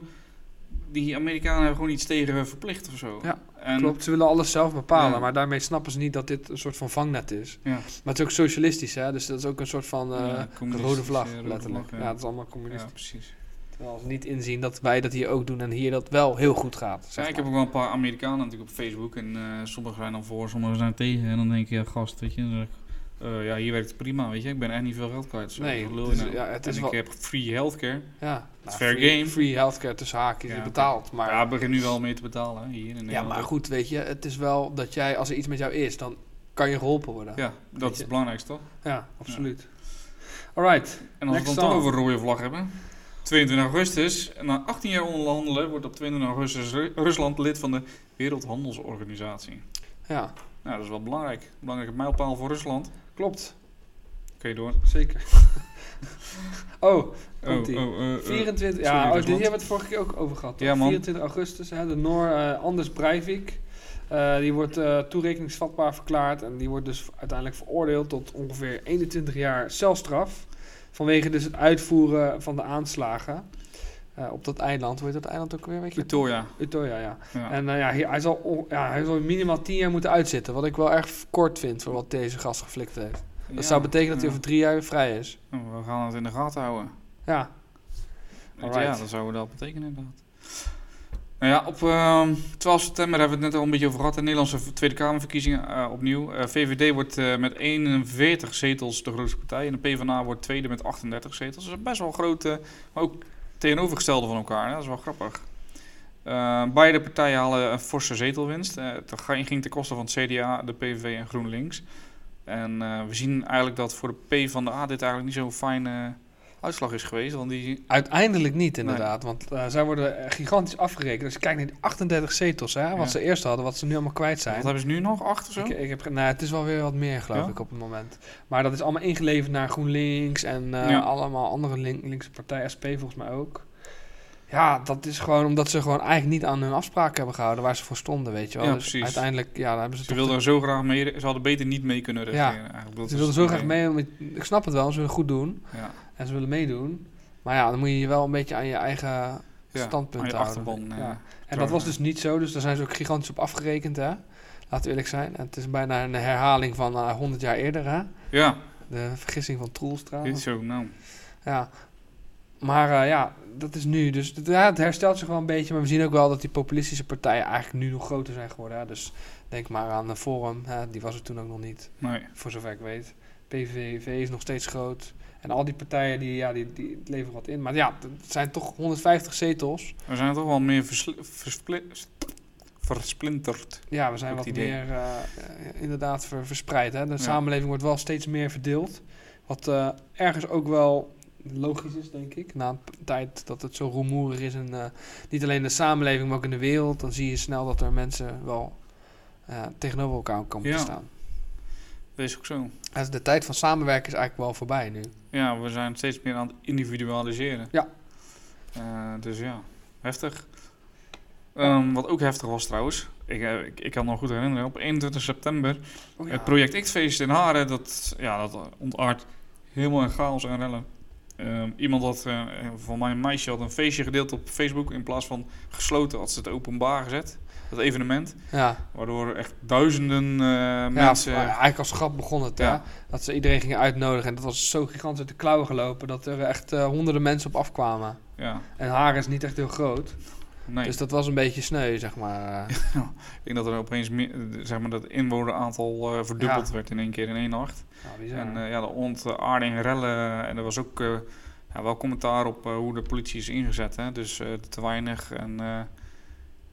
Die Amerikanen hebben gewoon iets tegen eh, verplicht of zo. Ja, en, Klopt, ze willen alles zelf bepalen, Ja. maar daarmee snappen ze niet dat dit een soort van vangnet is. Ja. Maar het is ook socialistisch, hè? dus dat is ook een soort van eh, Ja, communistische rode vlag, rode letterlijk. vlag, ja. ja. dat is allemaal Ja, communistisch. precies. Terwijl ze niet inzien dat wij dat hier ook doen en hier dat wel heel goed gaat. Ja, Zeg ik maar. heb ook wel een paar Amerikanen natuurlijk op Facebook. En eh, sommigen zijn dan voor, sommigen zijn tegen. En dan denk je, ja, gast, weet je... dan zeg ik, eh, ja, hier werkt het prima, weet je. Ik ben echt niet veel geld kwijt. Zo, Nee, wat lul je het is- nou? ja, het en is ik wel- heb free healthcare. ja. nou, fair free, game. Free healthcare tussen haakjes, Ja, je betaalt. Maar, ja, ja, ik begin nu wel mee te betalen, hè, hier in Nederland. maar goed, weet je, het is wel dat jij, als er iets met jou is, dan kan je geholpen worden. Ja, Ja, dat is je. het belangrijkste, toch? absoluut. Alright, En als we Next het dan toch song. over rode vlag hebben. 22 augustus, na 18 jaar onderhandelen, wordt op 22 augustus Ru- Rusland lid van de Wereldhandelsorganisatie. ja, Nou, dat is wel belangrijk. Belangrijke mijlpaal voor Rusland. klopt, Oké, door. zeker. oh, komt-ie. eh, eh. 24, Sorry, ja, oh, Rusland. dit hebben we het vorige keer ook over gehad. toch? Ja, man. 24 augustus, hè, de Noor eh, Anders Breivik. eh, die wordt eh, toerekeningsvatbaar verklaard en die wordt dus uiteindelijk veroordeeld tot ongeveer 21 jaar celstraf. Vanwege dus het uitvoeren van de aanslagen eh, op dat eiland. Hoe heet dat eiland ook weer? Weet je? Pretoria. Utoya, ja. Ja. En eh, ja, hier- hij, zal on- ja, hij zal minimaal 10 jaar moeten uitzitten. Wat ik wel erg kort vind voor wat deze gast geflikt heeft. Dat Ja, zou betekenen dat hij ja. Oh, over drie jaar weer vrij is. We gaan het in de gaten houden. Ja, Ja, Alright. dat zou dat betekenen inderdaad. Nou ja, op ehm, 12 september hebben we het net al een beetje over gehad. De Nederlandse Tweede Kamerverkiezingen eh, opnieuw. Eh, VVD wordt eh, met 41 zetels de grootste partij. En de PvdA wordt tweede met 38 zetels. Dat is best wel groot, eh, maar ook tegenovergestelde van elkaar. Hè? Dat is wel grappig. Eh, beide partijen halen een forse zetelwinst. Eh, dat ga- ging ten koste van het CDA, de PVV en GroenLinks. En eh, we zien eigenlijk dat voor de P van de A dit eigenlijk niet zo'n fijne uitslag is geweest. Want die, Uiteindelijk niet, inderdaad. Want eh, zij worden eh, gigantisch afgerekend. Als je kijkt naar die 38 zetels, hè, wat Ja. ze eerst hadden, wat ze nu allemaal kwijt zijn. wat hebben ze nu nog? Acht of zo? Ik, ik heb, ge- nou, het is wel weer wat meer, geloof Ja? ik, op het moment. Maar dat is allemaal ingeleverd naar GroenLinks en eh, Ja. allemaal andere link- linkse partijen, SP volgens mij ook. Ja, dat is gewoon omdat ze gewoon eigenlijk niet aan hun afspraken hebben gehouden waar ze voor stonden, weet je wel. Ja, dus precies. uiteindelijk, ja, daar hebben ze Ze toch wilden de- er zo graag mee, ze hadden beter niet mee kunnen regeren. eigenlijk. Dat ze is wilden het zo graag idee. mee, met- ik snap het wel, ze willen goed doen Ja. en ze willen meedoen. Maar ja, dan moet je je wel een beetje aan je eigen Ja, standpunt aan je houden. achterban. eh, Ja. En dat Trouwens, was dus niet zo, dus daar zijn ze ook gigantisch op afgerekend, hè. Laten we eerlijk zijn. En het is bijna een herhaling van eh, 100 jaar eerder, hè. ja, De vergissing van Troelstra. dit is zo. Nou, Ja. Maar eh, ja, dat is nu. Dus het- ja, het herstelt zich wel een beetje. Maar we zien ook wel dat die populistische partijen eigenlijk nu nog groter zijn geworden. Hè? Dus denk maar aan de Forum. Hè? Die was er toen ook nog niet, nee. voor zover ik weet. PVV is nog steeds groot. En al die partijen, die, ja, die, die leveren wat in. Maar ja, het zijn toch 150 zetels. We zijn toch wel meer versli- verspli- versplinterd. Ja, we zijn Ook wat het idee. meer eh, eh, inderdaad ver- verspreid. Hè? De Ja. samenleving wordt wel steeds meer verdeeld. Wat eh, ergens ook wel logisch is, denk ik. Na een p- tijd dat het zo rumoerig is. En eh, niet alleen in de samenleving, maar ook in de wereld. Dan zie je snel dat er mensen wel eh, tegenover elkaar komen Ja. te staan. Dat is ook zo. Dus de tijd van samenwerken is eigenlijk wel voorbij nu. Ja, we zijn steeds meer aan het individualiseren. Ja. Eh, dus ja, heftig. Ehm, wat ook heftig was trouwens, ik, eh, ik, ik kan me nog goed herinneren, op 21 september, Oh, het Project X-feest in Haren, dat, ja, dat ontaart helemaal in chaos en rellen. Ehm, iemand had, eh, van mijn meisje had een feestje gedeeld op Facebook, in plaats van gesloten had ze het openbaar gezet, dat evenement. ja. Waardoor echt duizenden eh, Ja, mensen... maar eigenlijk als grap begon het. hè? Ja. Dat ze iedereen gingen uitnodigen. En dat was zo gigantisch uit de klauwen gelopen. Dat er echt eh, honderden mensen op afkwamen. ja, En haar is niet echt heel groot. nee. Dus dat was een beetje sneu, zeg maar. Eh, Ik denk dat er opeens meer, eh, zeg maar, dat inwoneraantal eh, verdubbeld werd in één keer in één nacht. nou, bizar. En eh, ja, de ontaarding, rellen. En er was ook eh, ja, wel commentaar op eh, hoe de politie is ingezet. Hè? Dus eh, te weinig. En eh,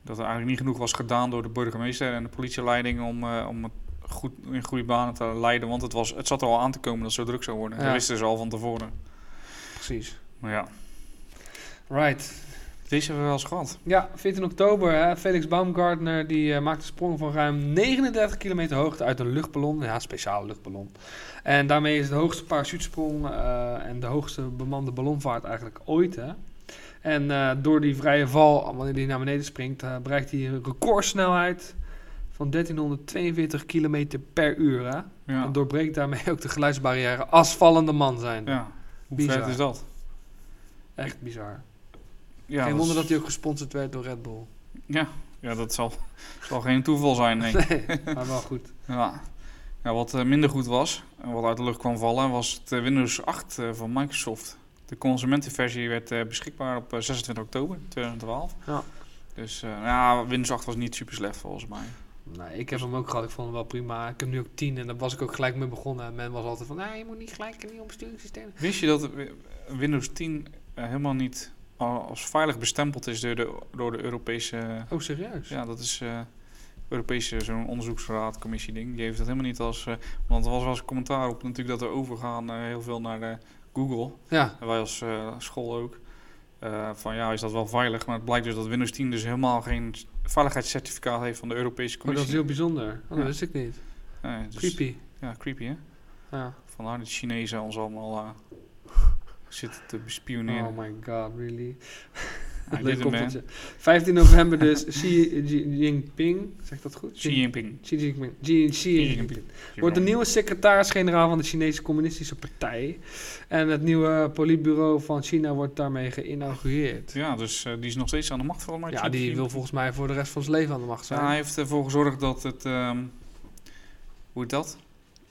dat er eigenlijk niet genoeg was gedaan door de burgemeester en de politieleiding om, eh, om het goed in goede banen te leiden. Want het, was, het zat er al aan te komen dat het zo druk zou worden. Ja. Dat wisten ze al van tevoren. eh, Precies. Maar ja, Right. deze hebben we wel eens gehad. Ja, 14 oktober. Hè, Felix Baumgartner die eh, maakte een sprong van ruim 39 kilometer hoogte uit een luchtballon. Ja, een speciale luchtballon. En daarmee is de hoogste parachutesprong eh, en de hoogste bemande ballonvaart eigenlijk ooit. Hè. En eh, door die vrije val, wanneer hij naar beneden springt, eh, bereikt hij een recordsnelheid van 1342 kilometer per uur. Hè. Ja, En doorbreekt daarmee ook de geluidsbarrière als vallende man zijn. ja. hoe Bizar. vet is dat? Echt bizar. Ja, Geen dat wonder is- dat hij ook gesponsord werd door Red Bull. Ja, ja dat zal, zal geen toeval zijn, denk ik. Nee, maar wel goed. Ja. ja, wat eh, minder goed was en wat uit de lucht kwam vallen, was het eh, Windows 8 eh, van Microsoft. De consumentenversie werd eh, beschikbaar op eh, 26 oktober 2012. Ja. Dus eh, nou ja, Windows 8 was niet super slecht volgens mij. Nou, ik heb hem ook gehad. Ik vond hem wel prima. Ik heb nu ook 10 en daar was ik ook gelijk mee begonnen. En men was altijd van, nee, je moet niet gelijk een nieuw besturingssysteem. Wist je dat eh, Windows 10 eh, helemaal niet al- als veilig bestempeld is door de, door de Europese... Oh, serieus? Ja, dat is eh, Europese zo'n onderzoeksraad, commissie ding. Die heeft dat helemaal niet als... eh, want er was wel eens commentaar op natuurlijk dat we overgaan eh, heel veel naar eh, Google. Ja. En wij als eh, school ook. eh, van ja, is dat wel veilig? Maar het blijkt dus dat Windows 10 dus helemaal geen s- veiligheidscertificaat heeft van de Europese Oh, dat is Commissie. heel bijzonder. Oh, dat Ja. wist ik niet. Nee, dus- Creepy. Ja, creepy hè? Ja. Vandaar dat de Chinezen ons allemaal eh, zitten te bespioneren. Oh my god, really? I did Leuk it, man. koppeltje. 15 november dus Xi Jinping. Zeg ik dat goed? Xi Jinping. Xi Jinping. Xi- Xi Jinping. Wordt de nieuwe secretaris-generaal van de Chinese Communistische Partij. En het nieuwe politbureau van China wordt daarmee geïnaugureerd. Ja, dus eh, die is nog steeds aan de macht volgens mij. Ja, Xi die Jinping. wil volgens mij voor de rest van zijn leven aan de macht Ja, hij zijn. heeft ervoor gezorgd dat het... ehm, hoe heet dat?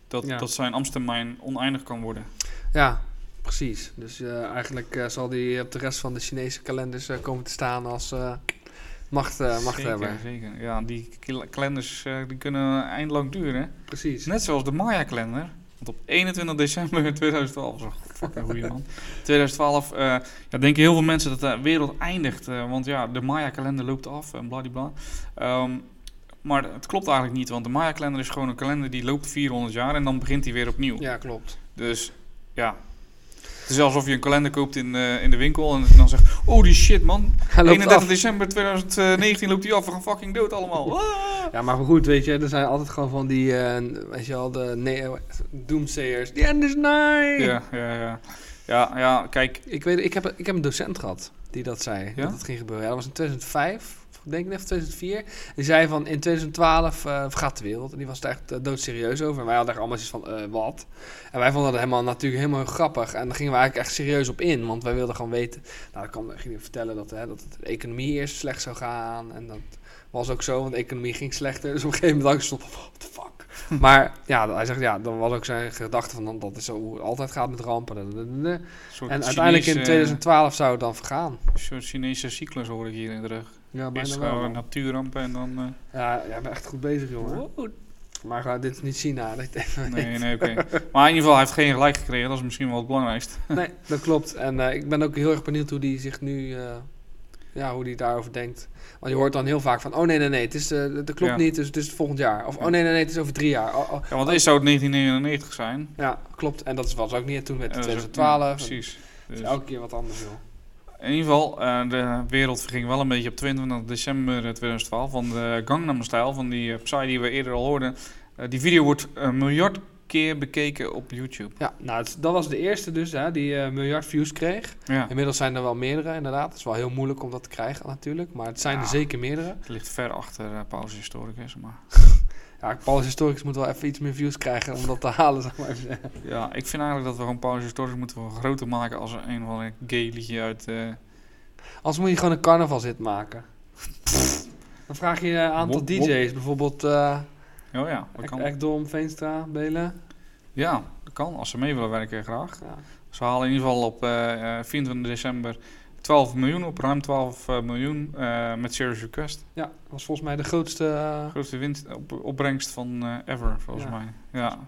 Dat, Ja. dat zijn ambtstermijn oneindig kan worden. Ja, precies. Dus eh, eigenlijk eh, zal hij op de rest van de Chinese kalenders eh, komen te staan als eh, macht, eh, machthebber. zeker, zeker. Ja, die kil- kalenders eh, die kunnen eindelang duren. Precies. Net zoals de Maya-kalender. Want op 21 december 2012 was een fucking goeie man. 2012, eh ja, denken heel veel mensen dat de wereld eindigt. eh, want ja, de Maya-kalender loopt af en bladibla. Ehm maar het klopt eigenlijk niet, want de Maya-kalender is gewoon een kalender die loopt 400 jaar en dan begint die weer opnieuw. Ja, klopt. Dus ja. Het is alsof je een kalender koopt in, eh, in de winkel en dan zegt: Oh die shit man, Hij loopt 31 af. december 2019 loopt die af, we gaan fucking dood allemaal. Ah. Ja, maar goed, weet je, er zijn altijd gewoon van die, eh, weet je wel, de neo doomsayers. The end is nigh! Ja, ja, ja. Ja, ja, kijk. Ik, weet, ik, heb, ik heb een docent gehad die dat zei, Ja? dat het ging gebeuren. Ja, dat was in 2005, of ik denk ik net, of 2004. Die zei van, in 2012 eh, vergaat de wereld. En die was er echt eh, doodserieus over. En wij hadden echt allemaal zoiets van, eh, wat? En wij vonden dat helemaal, natuurlijk helemaal grappig. En daar gingen we eigenlijk echt serieus op in. Want wij wilden gewoon weten... Nou, dan kwam, ging hij vertellen dat, hè, dat de economie eerst slecht zou gaan. En dat was ook zo, want de economie ging slechter. Dus op een gegeven moment dacht ik, stond, what the fuck? maar ja, hij zegt, ja, dan was ook zijn gedachte van... dan- dat is zo hoe het altijd gaat met rampen. dadadadada. een soort En uiteindelijk in Chinese- 2012 zou het dan vergaan. Een soort Chinese cyclus hoor ik hier in de rug. Ja, Eerst gewoon een natuurramp en dan... eh, Ja, jij bent echt goed bezig, jongen. Maar ga dit is niet China. Dat je het even weet. nee, nee, oké. Maar in ieder geval, hij heeft geen gelijk gekregen. Dat is misschien wel het belangrijkste. Nee, dat klopt. En eh, ik ben ook heel erg benieuwd hoe die zich nu... eh, ja, hoe die daarover denkt. Want je hoort dan heel vaak van... Oh, nee, nee, nee, het is, eh, dat klopt Ja. niet, dus het is volgend jaar. Of oh, nee, nee, nee, het is over drie jaar. Oh, oh. Ja, want eerst zou het 1999 zijn. Ja, klopt. En dat was ook niet toen met En dat is ook- 2012. ja, precies. Het Dus is elke keer wat anders, joh. In ieder geval, eh, de wereld verging wel een beetje op 22 december 2012. Want de Gangnam Style van die eh, Psy die we eerder al hoorden... eh, die video wordt een miljard keer bekeken op YouTube. Ja, nou, het- dat was de eerste dus, hè, die eh, miljard views kreeg. Ja, Inmiddels zijn er wel meerdere, inderdaad. Het is wel heel moeilijk om dat te krijgen, natuurlijk. Maar het zijn er Ja. zeker meerdere. het ligt ver achter eh Pauze Historicus, maar... Ja, Paulus Historicus moet wel even iets meer views krijgen om dat te halen, zeg maar. even zeggen. Ja, ik vind eigenlijk dat we gewoon Pauze Historisch moeten we groter maken als een van een gay liedje uit... eh, Anders moet je gewoon een carnavalshit maken. Dan vraag je een aantal Wop, wop. DJ's, bijvoorbeeld eh Oh ja, dat kan. Ekdom, Veenstra, Belen. Ja, dat kan. Als ze mee willen werken, graag. Ja. Ze halen in ieder geval op eh, eh, 24 december 12 miljoen op, ruim 12 eh, miljoen eh, met Serious Request. ja, dat was volgens mij de grootste... eh, Grootste winst, op, opbrengst van eh, ever, volgens Ja. mij. Ja,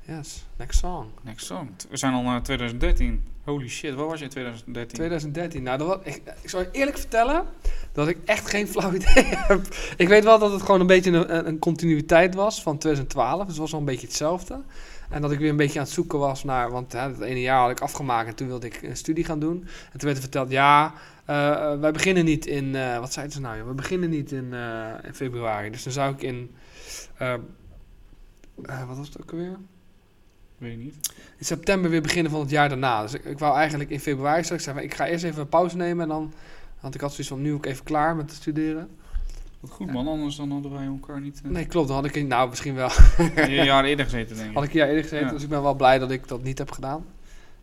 yes, next song. next song. T- We zijn al naar 2013. Holy shit, waar was je in 2013? 2013. Nou, dat was, ik, ik zal je eerlijk vertellen dat ik echt geen flauw idee heb. Ik weet wel dat het gewoon een beetje een, een- een continuïteit was van 2012. Dus het was wel een beetje hetzelfde. En dat ik weer een beetje aan het zoeken was naar... Want hè, dat ene jaar had ik afgemaakt en toen wilde ik een studie gaan doen. En toen werd er verteld, ja, eh, eh, wij beginnen niet in... eh, wat zeiden ze nou? joh? We beginnen niet in, eh, in februari. Dus dan zou ik in... eh, eh, wat was het ook alweer? Weet ik niet. in september weer beginnen van het jaar daarna. Dus ik, ik wou eigenlijk in februari straks zeggen, ik ga eerst even een pauze nemen en dan... Want ik had zoiets van, nu ook even klaar met studeren. Wat goed man, anders dan hadden wij elkaar niet... eh, Nee, klopt. Dan had ik, in- nou misschien wel, een jaar eerder gezeten, denk ik. had ik een jaar eerder gezeten. Ja. Dus ik ben wel blij dat ik dat niet heb gedaan.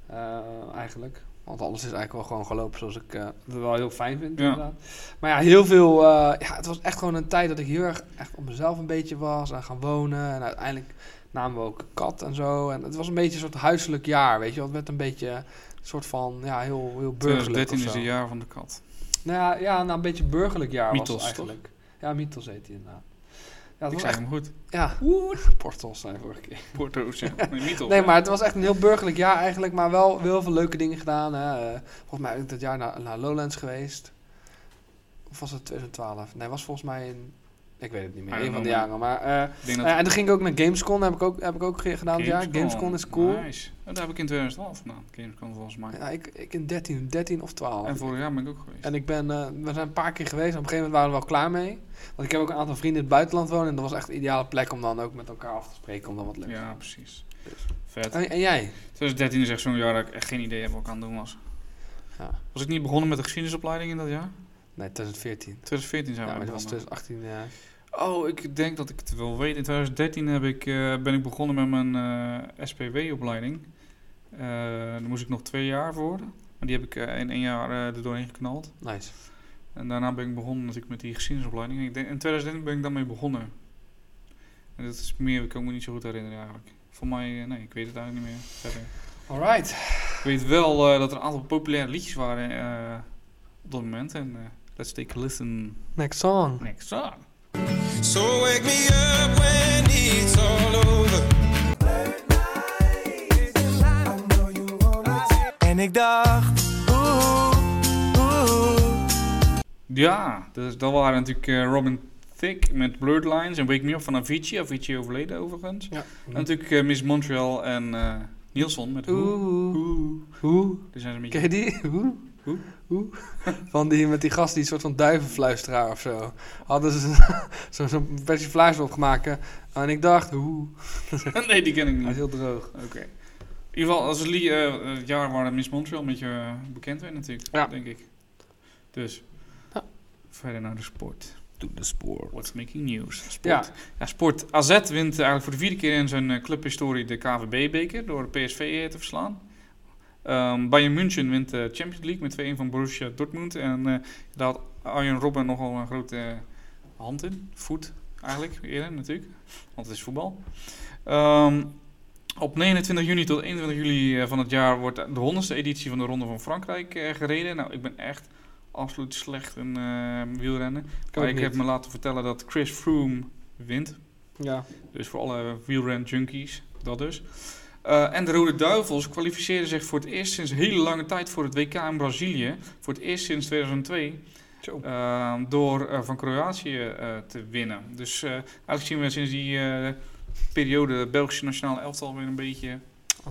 Eh, eigenlijk. Want alles is eigenlijk wel gewoon gelopen zoals ik eh, het wel heel fijn vind. Ja. Inderdaad. Maar ja, heel veel... eh, ja, het was echt gewoon een tijd dat ik heel erg echt op mezelf een beetje was. En gaan wonen. En uiteindelijk namen we ook een kat en zo. En het was een beetje een soort huiselijk jaar, weet je. wel. Het werd een beetje een soort van, ja, heel, heel burgerlijk 2013 of is zo. het jaar van de kat. Nou ja, ja nou, een beetje burgerlijk jaar was Mythos, het eigenlijk. Ja, Mythos heet hij inderdaad. Ja, het Ik was zei echt... hem goed. Ja, portals zijn vorige keer. Porto, zeg. Nee, Mythos, Nee, ja. maar het was echt een heel burgerlijk jaar eigenlijk. Maar wel heel veel leuke dingen gedaan. Hè. Eh, Volgens mij ben ik dat jaar naar, naar Lowlands geweest. Of was het 2012? Nee, was volgens mij in... Ik weet het niet meer. I don't Een van de know, jaren. Maar, eh, Ik denk Ah, dat eh, en toen ging ik ook naar Gamescom. Heb ik ook, heb ik ook ge- gedaan dit jaar. Gamescom is cool. Nice. Ja, dat heb ik in 2012 gedaan. Gamescom volgens mij. Ja, ik, ik in 13, 13 of 12. en vorig jaar ben ik ook geweest. En ik ben, eh, we zijn een paar keer geweest. En op een gegeven moment waren we wel klaar mee. Want ik heb ook een aantal vrienden in het buitenland wonen. En dat was echt een ideale plek om dan ook met elkaar af te spreken. Om dan wat leuks te ja, doen. precies. Vet. Dus. En, en jij? 2013 is echt zo'n jaar dat ik echt geen idee heb wat ik aan het doen was. Ja. Was ik niet begonnen met de geschiedenisopleiding in dat jaar? Nee, 2014. 2014 Ja, zijn maar we dat was begonnen. 2018. ja. Oh, ik denk dat ik het wel weet. In 2013 heb ik, eh, ben ik begonnen met mijn eh, SPW-opleiding. Eh, daar moest ik nog twee jaar voor. Maar die heb ik eh, in één jaar eh, er doorheen geknald. nice. En daarna ben ik begonnen natuurlijk met die geschiedenisopleiding. En Ik denk, in 2013 ben ik daarmee begonnen. En dat is meer, ik kan me niet zo goed herinneren eigenlijk. Voor mij, eh, nee, ik weet het eigenlijk niet meer verder. Alright. Ik weet wel eh, dat er een aantal populaire liedjes waren eh, op dat moment. En eh, let's take a listen Next song. next song. So wake me up when it's all over. ik dacht, oeh, oeh. Ja, dus dat waren natuurlijk eh, Robin Thicke met Blurred Lines en Wake Me Up van Avicii. Avicii overleden overigens. Ja. En natuurlijk eh, Miss Montreal en eh Nielsen met Hoe. Oeh. Hoe. Hoe? Die zijn ze een beetje... Ken je die? Hoe? Hoe? Hoe? Van die met die gast die soort van duivenfluisteraar of zo. Hadden ze zo'n zo versie fluister opgemaakt. hè. En ik dacht, hoe? nee, die ken ik Hij is niet. heel droog. Oké. In ieder geval, als het, li- eh, het jaar waar Miss Montreal een beetje eh, bekend werd natuurlijk, Ja. denk ik. Dus, Ja. verder naar de sport. Doe de spoor. What's making news? Sport. Ja. Ja. sport. AZ wint eigenlijk voor de vierde keer in zijn eh, clubhistorie de KVB-beker door PSV eh, te verslaan. Ehm, Bayern München wint de Champions League met 2-1 van Borussia Dortmund. En eh, daar had Arjen Robben nogal een grote eh, hand in. Voet eigenlijk, eerder natuurlijk. Want het is voetbal. Ehm, op 29 juni tot 21 juli eh, van het jaar wordt de 100ste editie van de Ronde van Frankrijk eh, gereden. Nou, ik ben echt absoluut slecht in eh, wielrennen. Maar ik heb me laten vertellen dat Chris Froome wint. Ja. Dus voor alle wielren junkies, dat dus. Eh, en de Rode Duivels kwalificeerden zich voor het eerst sinds hele lange tijd voor het WK in Brazilië. Voor het eerst sinds 2002. Zo. eh, door eh, van Kroatië eh, te winnen. Dus eh, eigenlijk zien we sinds die eh, periode het Belgische nationale elftal weer een beetje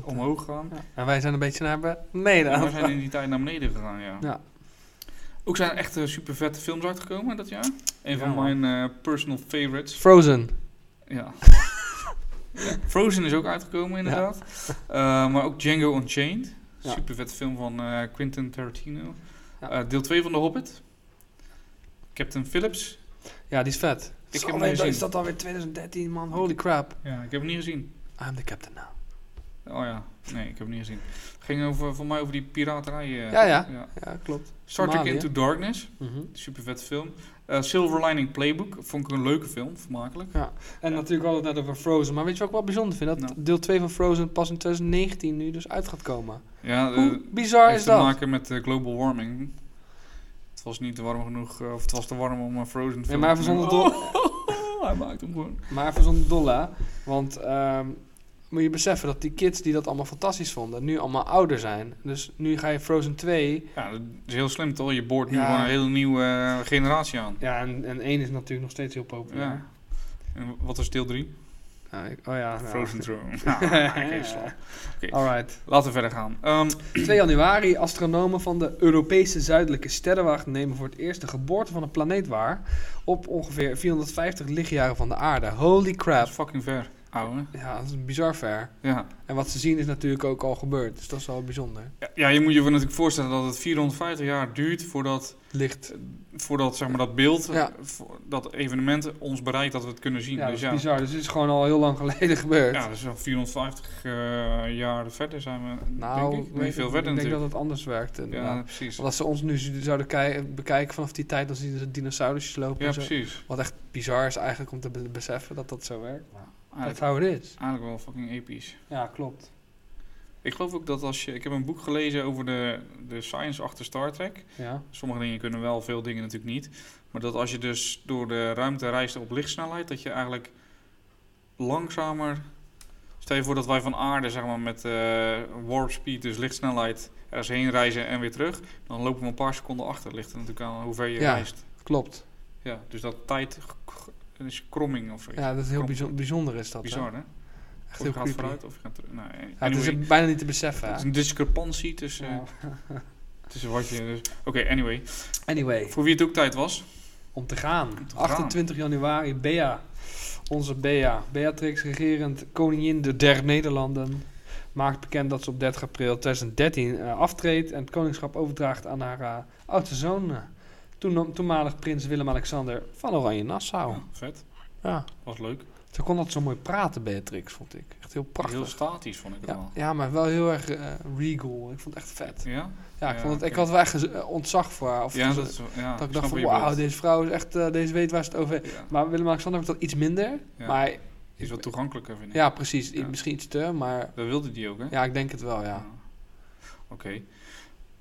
omhoog gaan. Ja. En wij zijn een beetje naar beneden. Maar we aan zijn het- in die tijd naar beneden gegaan, ja. Ja. Ook zijn er echt eh, super vette films uitgekomen dat jaar. Een Ja, van man. mijn eh, personal favorites. Frozen. Ja. Ja, Frozen is ook uitgekomen, inderdaad. Eh, maar ook Django Unchained. Ja. Super vette film van eh, Quentin Tarantino. Ja. Eh, deel 2 van The Hobbit. Captain Phillips. Ja, die is vet. Ik Zo, heb hem nee, niet dat- gezien. Is dat alweer 2013, man? Holy crap. Ja, ik heb hem niet gezien. I'm the captain now. Oh ja, nee, ik heb hem niet gezien. ging over, voor mij over die piraterij. eh, Ja, ja. Ja, klopt. Mhm. Star Trek Somalië. Into Darkness. Super vet film. Eh, Silver Lining Playbook. Vond ik een leuke film, vermakelijk. En natuurlijk hadden we het net over Frozen. Maar weet je wat ik wel bijzonder vind? Dat Nou. deel 2 van Frozen pas in 2019 nu dus uit gaat komen. Ja, eh, Hoe bizar heeft is te dat? maken met eh, global warming. Het was niet te warm genoeg, eh, of het was te warm om een Frozen Nee, film maar even te zonder, maken. dol- Oh, hij maakt hem gewoon. maar even zonder dolla. Want ehm, moet je beseffen dat die kids die dat allemaal fantastisch vonden, nu allemaal ouder zijn. Dus nu ga je Frozen 2. Ja, dat is heel slim toch? Je boort nu Ja. gewoon een hele nieuwe eh, generatie aan. Ja, en, en 1 is natuurlijk nog steeds heel Ja. populair. En wat is deel 3? Nou, ik- oh ja. nou. Frozen Throne. Ah, oké, sla. Oké. Alright. Laten we verder gaan. Ehm, 2 januari, astronomen van de Europese zuidelijke sterrenwacht nemen voor het eerst de geboorte van een planeet waar. Op ongeveer 450 lichtjaren van de aarde. Holy dat crap. is fucking ver, ouwe. Ja, dat is bizar ver. Ja. En wat ze zien is natuurlijk ook al gebeurd. Dus dat is wel bijzonder. Ja, ja, je moet je natuurlijk voorstellen dat het 450 jaar duurt voordat, Licht. voordat zeg maar, dat beeld, Ja. eh, voor- dat evenement ons bereikt dat we het kunnen zien. Ja, dat dus is ja, bizar. Dus het is gewoon al heel lang geleden gebeurd. Ja, dus al 450 eh, jaar verder zijn we, nou, denk ik. weet Nee, veel ik- verder ik denk dat natuurlijk. het anders werkt. En, ja, precies. als ze ons nu zouden kei- bekijken vanaf die tijd, dan zien ze dinosaurusjes lopen. Ja, en zo. precies. Wat echt bizar is eigenlijk om te be- beseffen dat dat zo werkt. That's Eigenlijk, how it is. eigenlijk wel fucking episch. Ja, klopt. Ik geloof ook dat als je... Ik heb een boek gelezen over de, de science achter Star Trek. Ja. Sommige dingen kunnen wel, veel dingen natuurlijk niet. Maar dat als je dus door de ruimte reist op lichtsnelheid... dat je eigenlijk langzamer... Stel je voor dat wij van aarde, zeg maar, met eh, warp speed, dus lichtsnelheid... ergens heen reizen en weer terug. Dan lopen we een paar seconden achter. Ligt er natuurlijk aan hoe ver je Ja. reist. Klopt. Ja, dus dat tijd g- g- is kromming of zoiets. Ja, dat is heel Klopt. bijzonder, bijzonder is dat. hè? Bizar, hè? Echt Of je heel gaat creepy. vooruit of je gaat terug. Nou, anyway, Ja, het is bijna niet te beseffen. hè? een discrepantie tussen, Ja. tussen wat je... Dus, Oké, anyway. Anyway, Voor wie het ook tijd was. om te gaan. te gaan. 28 januari, Bea. Onze Bea. Beatrix, regerend koningin de der Nederlanden. Maakt bekend dat ze op 30 april 2013 eh, aftreedt en het koningschap overdraagt aan haar eh, oudste zoon. eh, toen, toenmalig prins Willem-Alexander van Oranje-Nassau. Ja, vet. Ja. Was leuk. Ze kon dat zo mooi praten, Beatrix, vond ik. Echt heel prachtig. Heel statisch vond ik het ja, wel. ja, maar wel heel erg eh, regal. Ik vond het echt vet. Ja? Ja, ik, Ja, vond het, ik oké. had wel echt gez- eh, ontzag voor haar. Of Ja, gez- dat is... Ja, dat ik snap dacht wat van, je wauw, bedoelt. deze vrouw is echt, eh, deze weet waar ze het over heeft. Ja, Maar Willem-Alexander wordt dat iets minder. Ja. Maar is wat toegankelijker, vind ik. ja, precies. i- Ja. Misschien iets te, maar Dat wilde die ook, hè? ja, ik denk het wel, ja. Oké.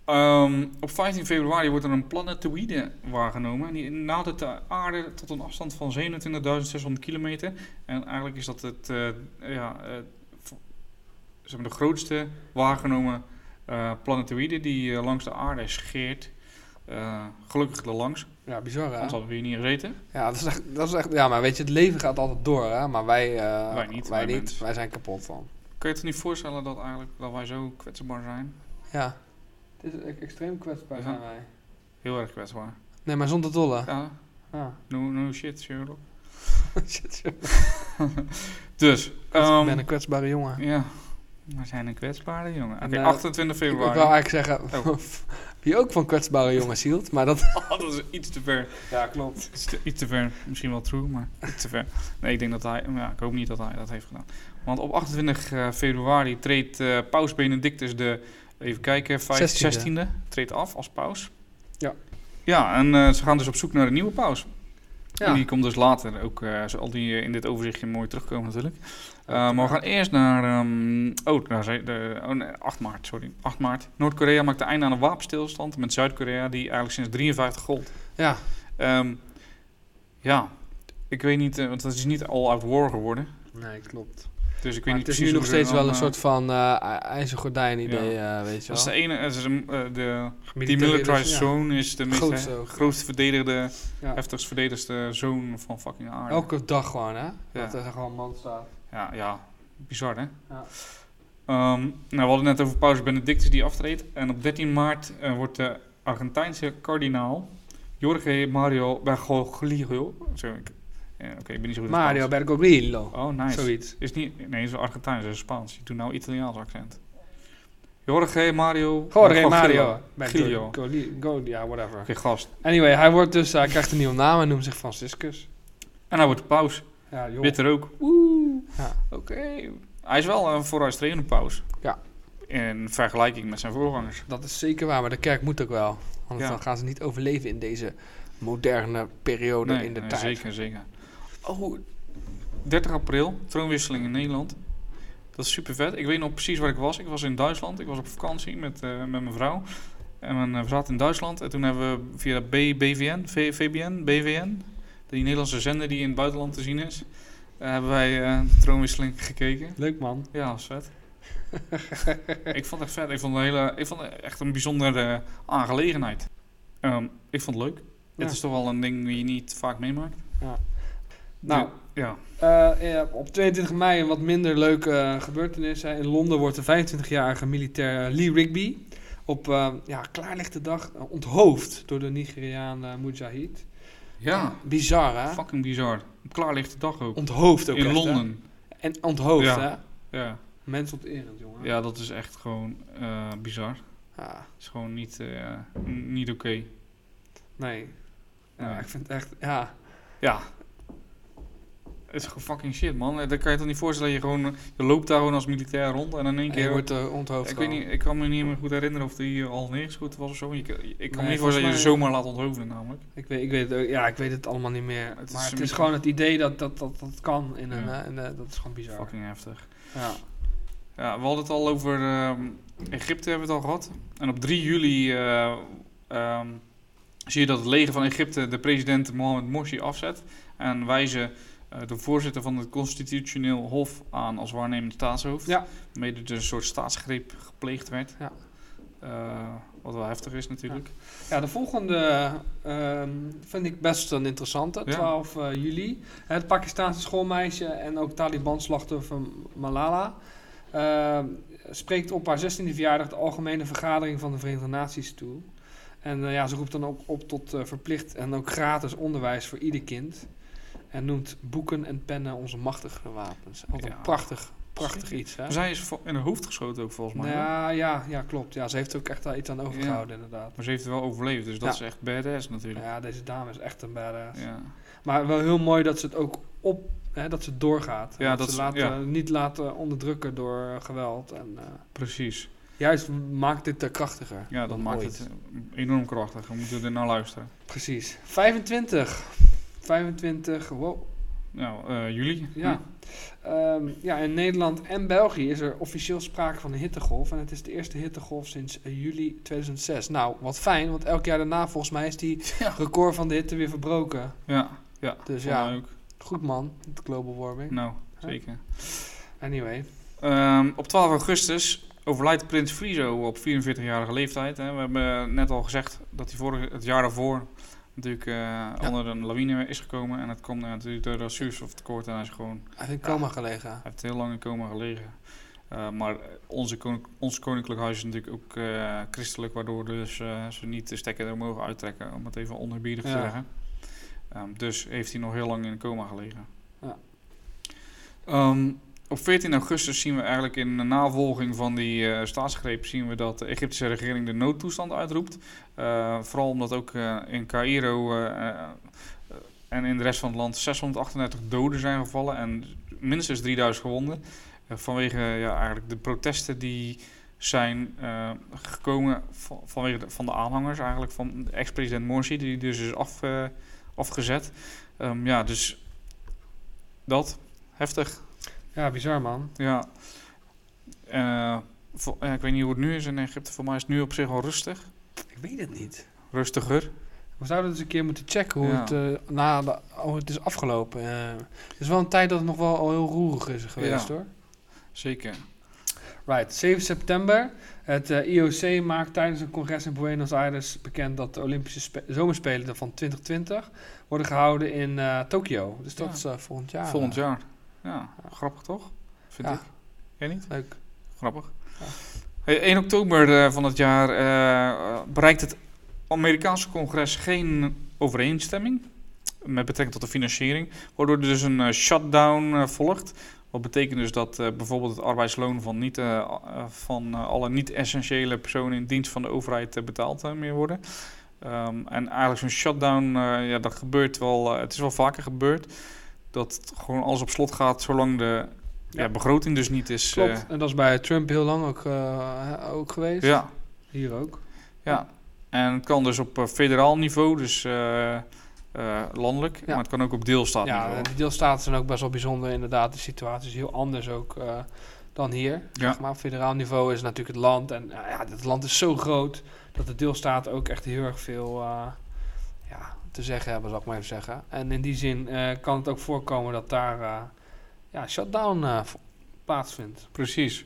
Ehm, op 15 februari wordt er een planetoïde waargenomen. En die nadert de aarde tot een afstand van 27.600 kilometer. En eigenlijk is dat het, eh, ja, eh, v- zeg maar de grootste waargenomen eh planetoïde die eh, langs de aarde scheert. Eh, gelukkig er langs, Ja, bizar hè? anders hadden we hier niet gezeten. Ja, dat is, echt, dat is echt... Ja, maar weet je, het leven gaat altijd door hè? Maar wij... eh, Wij niet, Wij, wij niet. mensen. wij zijn kapot van. Kun je het niet voorstellen dat, eigenlijk, dat wij zo kwetsbaar zijn? Ja. Het is extreem kwetsbaar zijn wij. Heel erg kwetsbaar. Nee, maar zonder dolle. Ja, Ja. no, no shit, Sherlock. Shit, shit. Dus, ik ben ehm een kwetsbare jongen. ja, we zijn een kwetsbare jongen. Oké, En, eh, 28 Ik wil februari. eigenlijk zeggen, Oh. wie ook van kwetsbare jongens hield, maar dat... Oh, dat is iets te ver. Ja, klopt. Iets te, iets te ver. Misschien wel true, maar iets te ver. Nee, ik denk dat hij. Ja, ik hoop niet dat hij dat heeft gedaan. Want op 28 eh, februari treedt eh, Paus Benedictus de. Even kijken, 5, 16e. 16e. Treedt af als paus. Ja. Ja, en eh, ze gaan dus op zoek naar een nieuwe paus. En Ja. die komt dus later ook. eh zal die eh, in dit overzichtje mooi terugkomen, natuurlijk. Eh, maar Uiteraard. we gaan eerst naar. ehm, oh, naar Zee- de, oh nee, 8 maart, sorry. 8 maart. Noord-Korea maakt een einde aan een wapenstilstand met Zuid-Korea, die eigenlijk sinds 53 gold. Ja, Ehm, ja, ik weet niet, eh, want dat is niet all-out war geworden. nee, klopt. Dus ik weet Maar niet het is precies nu nog hoe ze steeds dan, wel een eh, soort van eh, i- ijzeren gordijn idee, eh, weet je Dat is de wel. ene, dat is een, eh, de Militaire demilitarized dus, ja. zone is de meest, Grootste hè, ook. grootste verdedigde, Ja. heftigst verdedigste zone van fucking aarde. Elke dag gewoon, hè? Dat er gewoon een man staat. Ja, ja, bizar hè? Ja. Ehm, nou, we hadden net over Paus Benedictus die aftreedt. En op 13 maart eh, wordt de Argentijnse kardinaal Jorge Mario Bergoglio... Sorry, ik- eh, oké, ik ben niet zo goed in Mario Spaans. Bergoglio. Oh, nice. Zoiets. Is niet, nee, is Argentijns, is Spaans. Je doet nou Italiaans accent. Jorge Mario. Jorge Gilio. Mario. Bergoglio. Bergoglio. Ja, whatever. Oké, gast. Anyway, hij wordt dus, hij krijgt een nieuwe naam en noemt zich Franciscus. En hij wordt paus. Ja, joh. Witte rook. Oeh. Ja. Oké. Hij is wel een vooruitstrevende paus. Ja. In vergelijking met zijn voorgangers. Dat is zeker waar, maar de kerk moet ook wel. Anders Ja. dan gaan ze niet overleven in deze moderne periode Nee, in Oh, de nee, tijd. Zeker, zeker. Oh, 30 april, troonwisseling in Nederland. Dat is super vet. Ik weet nog precies waar ik was. Ik was in Duitsland. Ik was op vakantie met, eh, met mijn vrouw. En mijn eh, vrouw zat in Duitsland. En toen hebben we via de B- BVN, V- VBN, BVN, die Nederlandse zender die in het buitenland te zien is, eh, hebben wij eh, de troonwisseling gekeken. Leuk man. Ja, dat was vet. ik vond het echt vet. Ik vond het, een hele, ik vond het echt een bijzondere aangelegenheid. Ehm, ik vond het leuk. Ja. Het is toch wel een ding die je niet vaak meemaakt. Nou, Ja. eh, ja, op 22 mei een wat minder leuke eh, gebeurtenis. hè. In Londen wordt de 25-jarige militair eh, Lee Rigby op eh, ja, klaarlichte dag eh, onthoofd door de Nigeriaan eh, Mujahid. Ja, Bizar hè? fucking bizar. Klaar ligt de dag ook. Onthoofd ook in echt, hè? Londen. En onthoofd Ja. hè? Ja. Mens onterend jongen. Ah, ja, dat is echt gewoon eh, bizar. Ja, is gewoon niet, eh, n- niet oké. nee. Ja, Nee. ik vind het echt, ja. Ja. Het is gewoon fucking shit, man. Eh, Dan kan je toch niet voorstellen. Je, gewoon, eh, je loopt daar gewoon als militair rond en in één En keer... je wordt eh, onthoofd ik, weet gewoon. niet, ik kan me niet meer goed herinneren of die eh, al neergeschoten was of zo. Je, kan- ik kan me Nee, niet voorstellen dat je volgens zomaar laat onthoofden namelijk. Ik weet, ik weet het ook- ja, ik weet het allemaal niet meer. Het is maar een het is beetje- gewoon het idee dat dat, dat, dat kan in een... Ja. hè, en, eh, dat is gewoon bizar. Fucking heftig. Ja. Ja, we hadden het al over ehm, Egypte hebben we het al gehad. En op 3 juli eh, ehm, zie je dat het leger van Egypte de president Mohamed Morsi afzet. En wijzen eh, de voorzitter van het constitutioneel hof aan als waarnemend staatshoofd. Ja. Waarmee er dus een soort staatsgreep gepleegd werd. Ja. Eh, wat wel heftig is natuurlijk. ja, de volgende ehm, vind ik best een interessante. Ja. 12 eh, juli. Het Pakistaanse schoolmeisje en ook Taliban-slachtoffer Malala... ehm, spreekt op haar 16e verjaardag de algemene vergadering van de Verenigde Naties toe. En eh, ja, ze roept dan ook op tot eh, verplicht en ook gratis onderwijs voor ieder kind. En noemt boeken en pennen onze machtigere wapens. Wat een Ja. prachtig, prachtig iets. Hè? Zij is vo- in haar hoofd geschoten ook volgens mij. hè? Ja, ja, ja, klopt. Ja, ze heeft ook echt daar iets aan overgehouden, inderdaad. Maar ze heeft het wel overleefd, dus dat Ja. is echt badass natuurlijk. Ja, deze dame is echt een badass. Ja. Maar wel heel mooi dat ze het ook op, hè, dat ze het doorgaat. Ja, dat ze ze- laten, ja. niet laten onderdrukken door eh, geweld. En, eh, Precies. juist maakt dit er krachtiger. Ja, dat dan maakt ooit. het eh, enorm krachtig. We moeten er naar luisteren. Precies. 25. 25, wow. Nou, eh, jullie? Ja. Ehm, ja, in Nederland en België is er officieel sprake van een hittegolf. En het is de eerste hittegolf sinds eh, juli 2006. Nou, wat fijn, want elk jaar daarna volgens mij is die Ja. record van de hitte weer verbroken. Ja, ja. Dus Vond mij ja, ook. goed man, met global warming. Nou, zeker. Anyway, Ehm, op 12 augustus overlijdt Prins Frizo op 44-jarige leeftijd. Hè. We hebben net al gezegd dat hij vorig, het jaar daarvoor natuurlijk eh, onder een lawine is gekomen. En dat komt natuurlijk door de zuurstoftekort. En hij is gewoon Hij heeft in coma gelegen. hij heeft heel lang in coma gelegen. Eh, maar onze konink- ons koninklijk huis is natuurlijk ook eh, christelijk, waardoor dus, eh, ze niet de stekker er mogen uittrekken, om het even onherbiedig te Ja. zeggen. Ehm, dus heeft hij nog heel lang in coma gelegen. Ja. Ehm, op 14 augustus zien we eigenlijk in de navolging van die eh, staatsgreep zien we dat de Egyptische regering de noodtoestand uitroept. Eh, vooral omdat ook eh, in Cairo eh, eh, en in de rest van het land 638 doden zijn gevallen en minstens 3000 gewonden. Eh, vanwege ja, eigenlijk de protesten die zijn eh, gekomen van, vanwege de, van de aanhangers eigenlijk van de ex-president Morsi, die dus is af, eh, afgezet. Ehm, ja, dus dat, heftig. Ja, bizar man. Ja. Eh, vo- ja, ik weet niet hoe het nu is in Egypte, voor mij is het nu op zich al rustig. Ik weet het niet. Rustiger. We zouden dus een keer moeten checken hoe, Ja. het, eh, na de, hoe het is afgelopen. Eh, het is wel een tijd dat het nog wel al heel roerig is geweest Ja. hoor. Zeker. Right, 7 september. Het eh, IOC maakt tijdens een congres in Buenos Aires bekend dat de Olympische Spe- Zomerspelen van 2020 worden gehouden in eh, Tokio. Dus dat Ja. is eh, volgend jaar. Volgend jaar. Ja, grappig toch? Vind Ja. ik. Jij niet? Leuk. Grappig. Ja. Hey, 1 oktober eh, van het jaar eh, eh, bereikt het Amerikaanse congres geen overeenstemming met betrekking tot de financiering, waardoor er dus een eh, shutdown eh, volgt. Wat betekent dus dat eh, bijvoorbeeld het arbeidsloon van, niet, eh, a- eh, van eh, alle niet-essentiële personen in dienst van de overheid eh, betaald eh, meer worden. Ehm, en eigenlijk zo'n shutdown, eh, ja, dat gebeurt wel, eh, het is wel vaker gebeurd, dat het gewoon alles op slot gaat zolang de ja. Ja. begroting dus niet is. eh, Klopt. En dat is bij Trump heel lang ook, eh, ook geweest. ja, Hier ook. ja. En het kan dus op eh, federaal niveau, dus eh, eh, landelijk, maar het kan ook op deelstaatniveau. Ja, de deelstaten zijn ook best wel bijzonder. Inderdaad, de situatie is heel anders ook eh, dan hier. Ja. Zeg maar op federaal niveau is natuurlijk het land. En nou ja, het land is zo groot dat de deelstaten ook echt heel erg veel eh, ja, te zeggen hebben, zal ik maar even zeggen. En in die zin eh, kan het ook voorkomen dat daar eh, ja, shutdown eh, vo- plaatsvindt. Precies.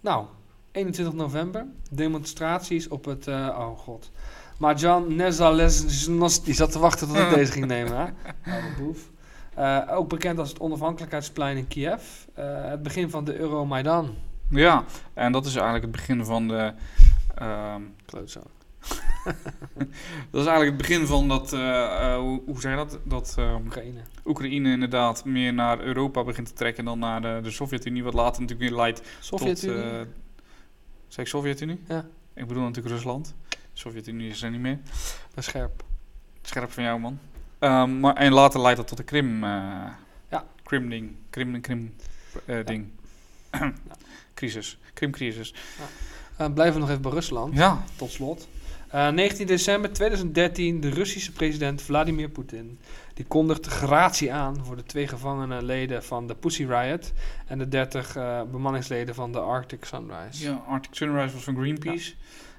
Nou, 21 november. Demonstraties op het... eh, oh god. Marjan Nezalezhnost, die zat te wachten tot ik deze ging nemen. Hè? Oude boef. Eh, ook bekend als het onafhankelijkheidsplein in Kiev. Eh, het begin van de Euromaidan. Ja, en dat is eigenlijk het begin van de. ehm, Klootzak. dat is eigenlijk het begin van dat. eh, eh, hoe, hoe zei dat? Dat ehm, Oekraïne. Oekraïne inderdaad meer naar Europa begint te trekken dan naar de, de Sovjet-Unie, wat later natuurlijk weer leidt Sovjet-Unie. tot. eh zeg ik Sovjet-Unie? Ja. Ik bedoel natuurlijk Rusland. Sovjet-Unie is er niet meer. ben scherp. Scherp van jou, man. Ehm, maar, en later leidt dat tot de Krim. eh Ja. Krim-ding. Krim, Krim, eh, ding. crisis. Krim-crisis. Eh, blijven we nog even bij Rusland, Ja. tot slot. Eh, 19 december 2013, de Russische president Vladimir Poetin. Die kondigt gratie aan voor de twee gevangenen leden van de Pussy Riot. En de 30 eh, bemanningsleden van de Arctic Sunrise. ja, Arctic Sunrise was van Greenpeace.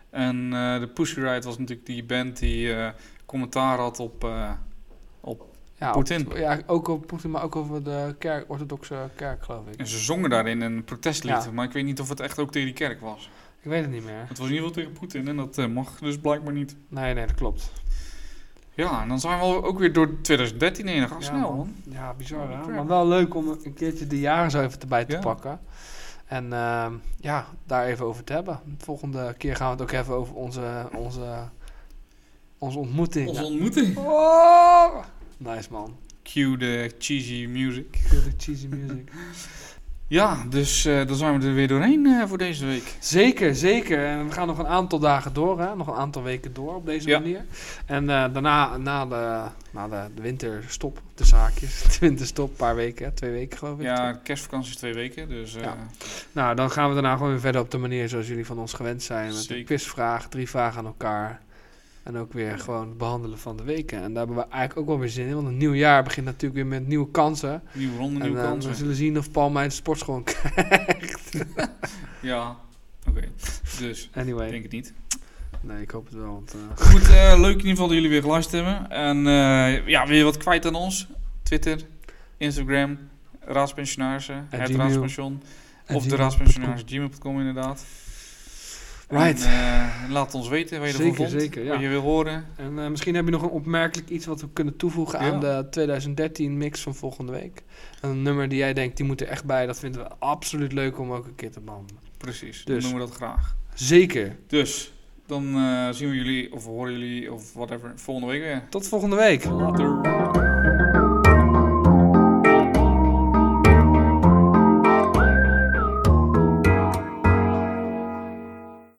En eh, de Pussy Riot was natuurlijk die band die eh, commentaar had op... eh, Ja, Poetin. op- ja, ook over Poetin, maar ook over de kerk, orthodoxe kerk, geloof ik. en ze zongen daarin een protestlied. Ja. Maar ik weet niet of het echt ook tegen die kerk was. Ik weet het niet meer. Het was in ieder geval tegen Poetin. En dat eh, mag dus blijkbaar niet. Nee, nee, dat klopt. Ja, en dan zijn we ook weer door 2013 heen. Dan gaat Ja, snel, man. man. Ja, bizar Holy hè? crap. Maar wel leuk om een keertje de jaren zo even erbij te Ja. pakken. En ehm, ja, daar even over te hebben. De volgende keer gaan we het ook hebben over onze, onze, onze ontmoeting. Onze ontmoeting. Oh! Nice man. Cue de cheesy music. Heel de cheesy music. Ja, dus eh dan zijn we er weer doorheen eh, voor deze week. Zeker, zeker. En we gaan nog een aantal dagen door, hè? nog een aantal weken door op deze Ja. manier. En eh, daarna, na de, na de, de winterstop, de zaakjes, de winterstop, een paar weken, hè, twee weken geloof ik. Ja, kerstvakantie is twee weken, dus eh, Ja. Nou, dan gaan we daarna gewoon weer verder op de manier zoals jullie van ons gewend zijn. Met Zeker. een quizvraag, drie vragen aan elkaar. En ook weer gewoon het behandelen van de weken. En daar hebben we eigenlijk ook wel weer zin in. Want het nieuwe jaar begint natuurlijk weer met nieuwe kansen. nieuwe ronde, en nieuwe eh, kansen. we zullen zien of Paul mijn sportschool krijgt. Ja, oké. Dus, ik Anyway. denk het niet. Nee, ik hoop het wel. Want, eh, Goed, eh, leuk in ieder geval dat jullie weer geluisterd hebben. En eh, ja, wil je wat kwijt aan ons? Twitter, Instagram, eh, Raadspensionarissen, En het Gmail. Raadspension. En Of de gmail.com. Raadspensionaris, gmail.com inderdaad. Right. En, eh, laat ons weten wat je ervan Zeker, vond, zeker, ja. wat je wil horen. En eh, misschien heb je nog een opmerkelijk iets wat we kunnen toevoegen aan Ja. de 2013 mix van volgende week. Een nummer die jij denkt, die moet er echt bij. Dat vinden we absoluut leuk om ook een keer te behandelen. Precies, Dus. dan doen we dat graag. Zeker. Dus, dan eh, zien we jullie of horen jullie of whatever volgende week weer. Tot volgende week. Later.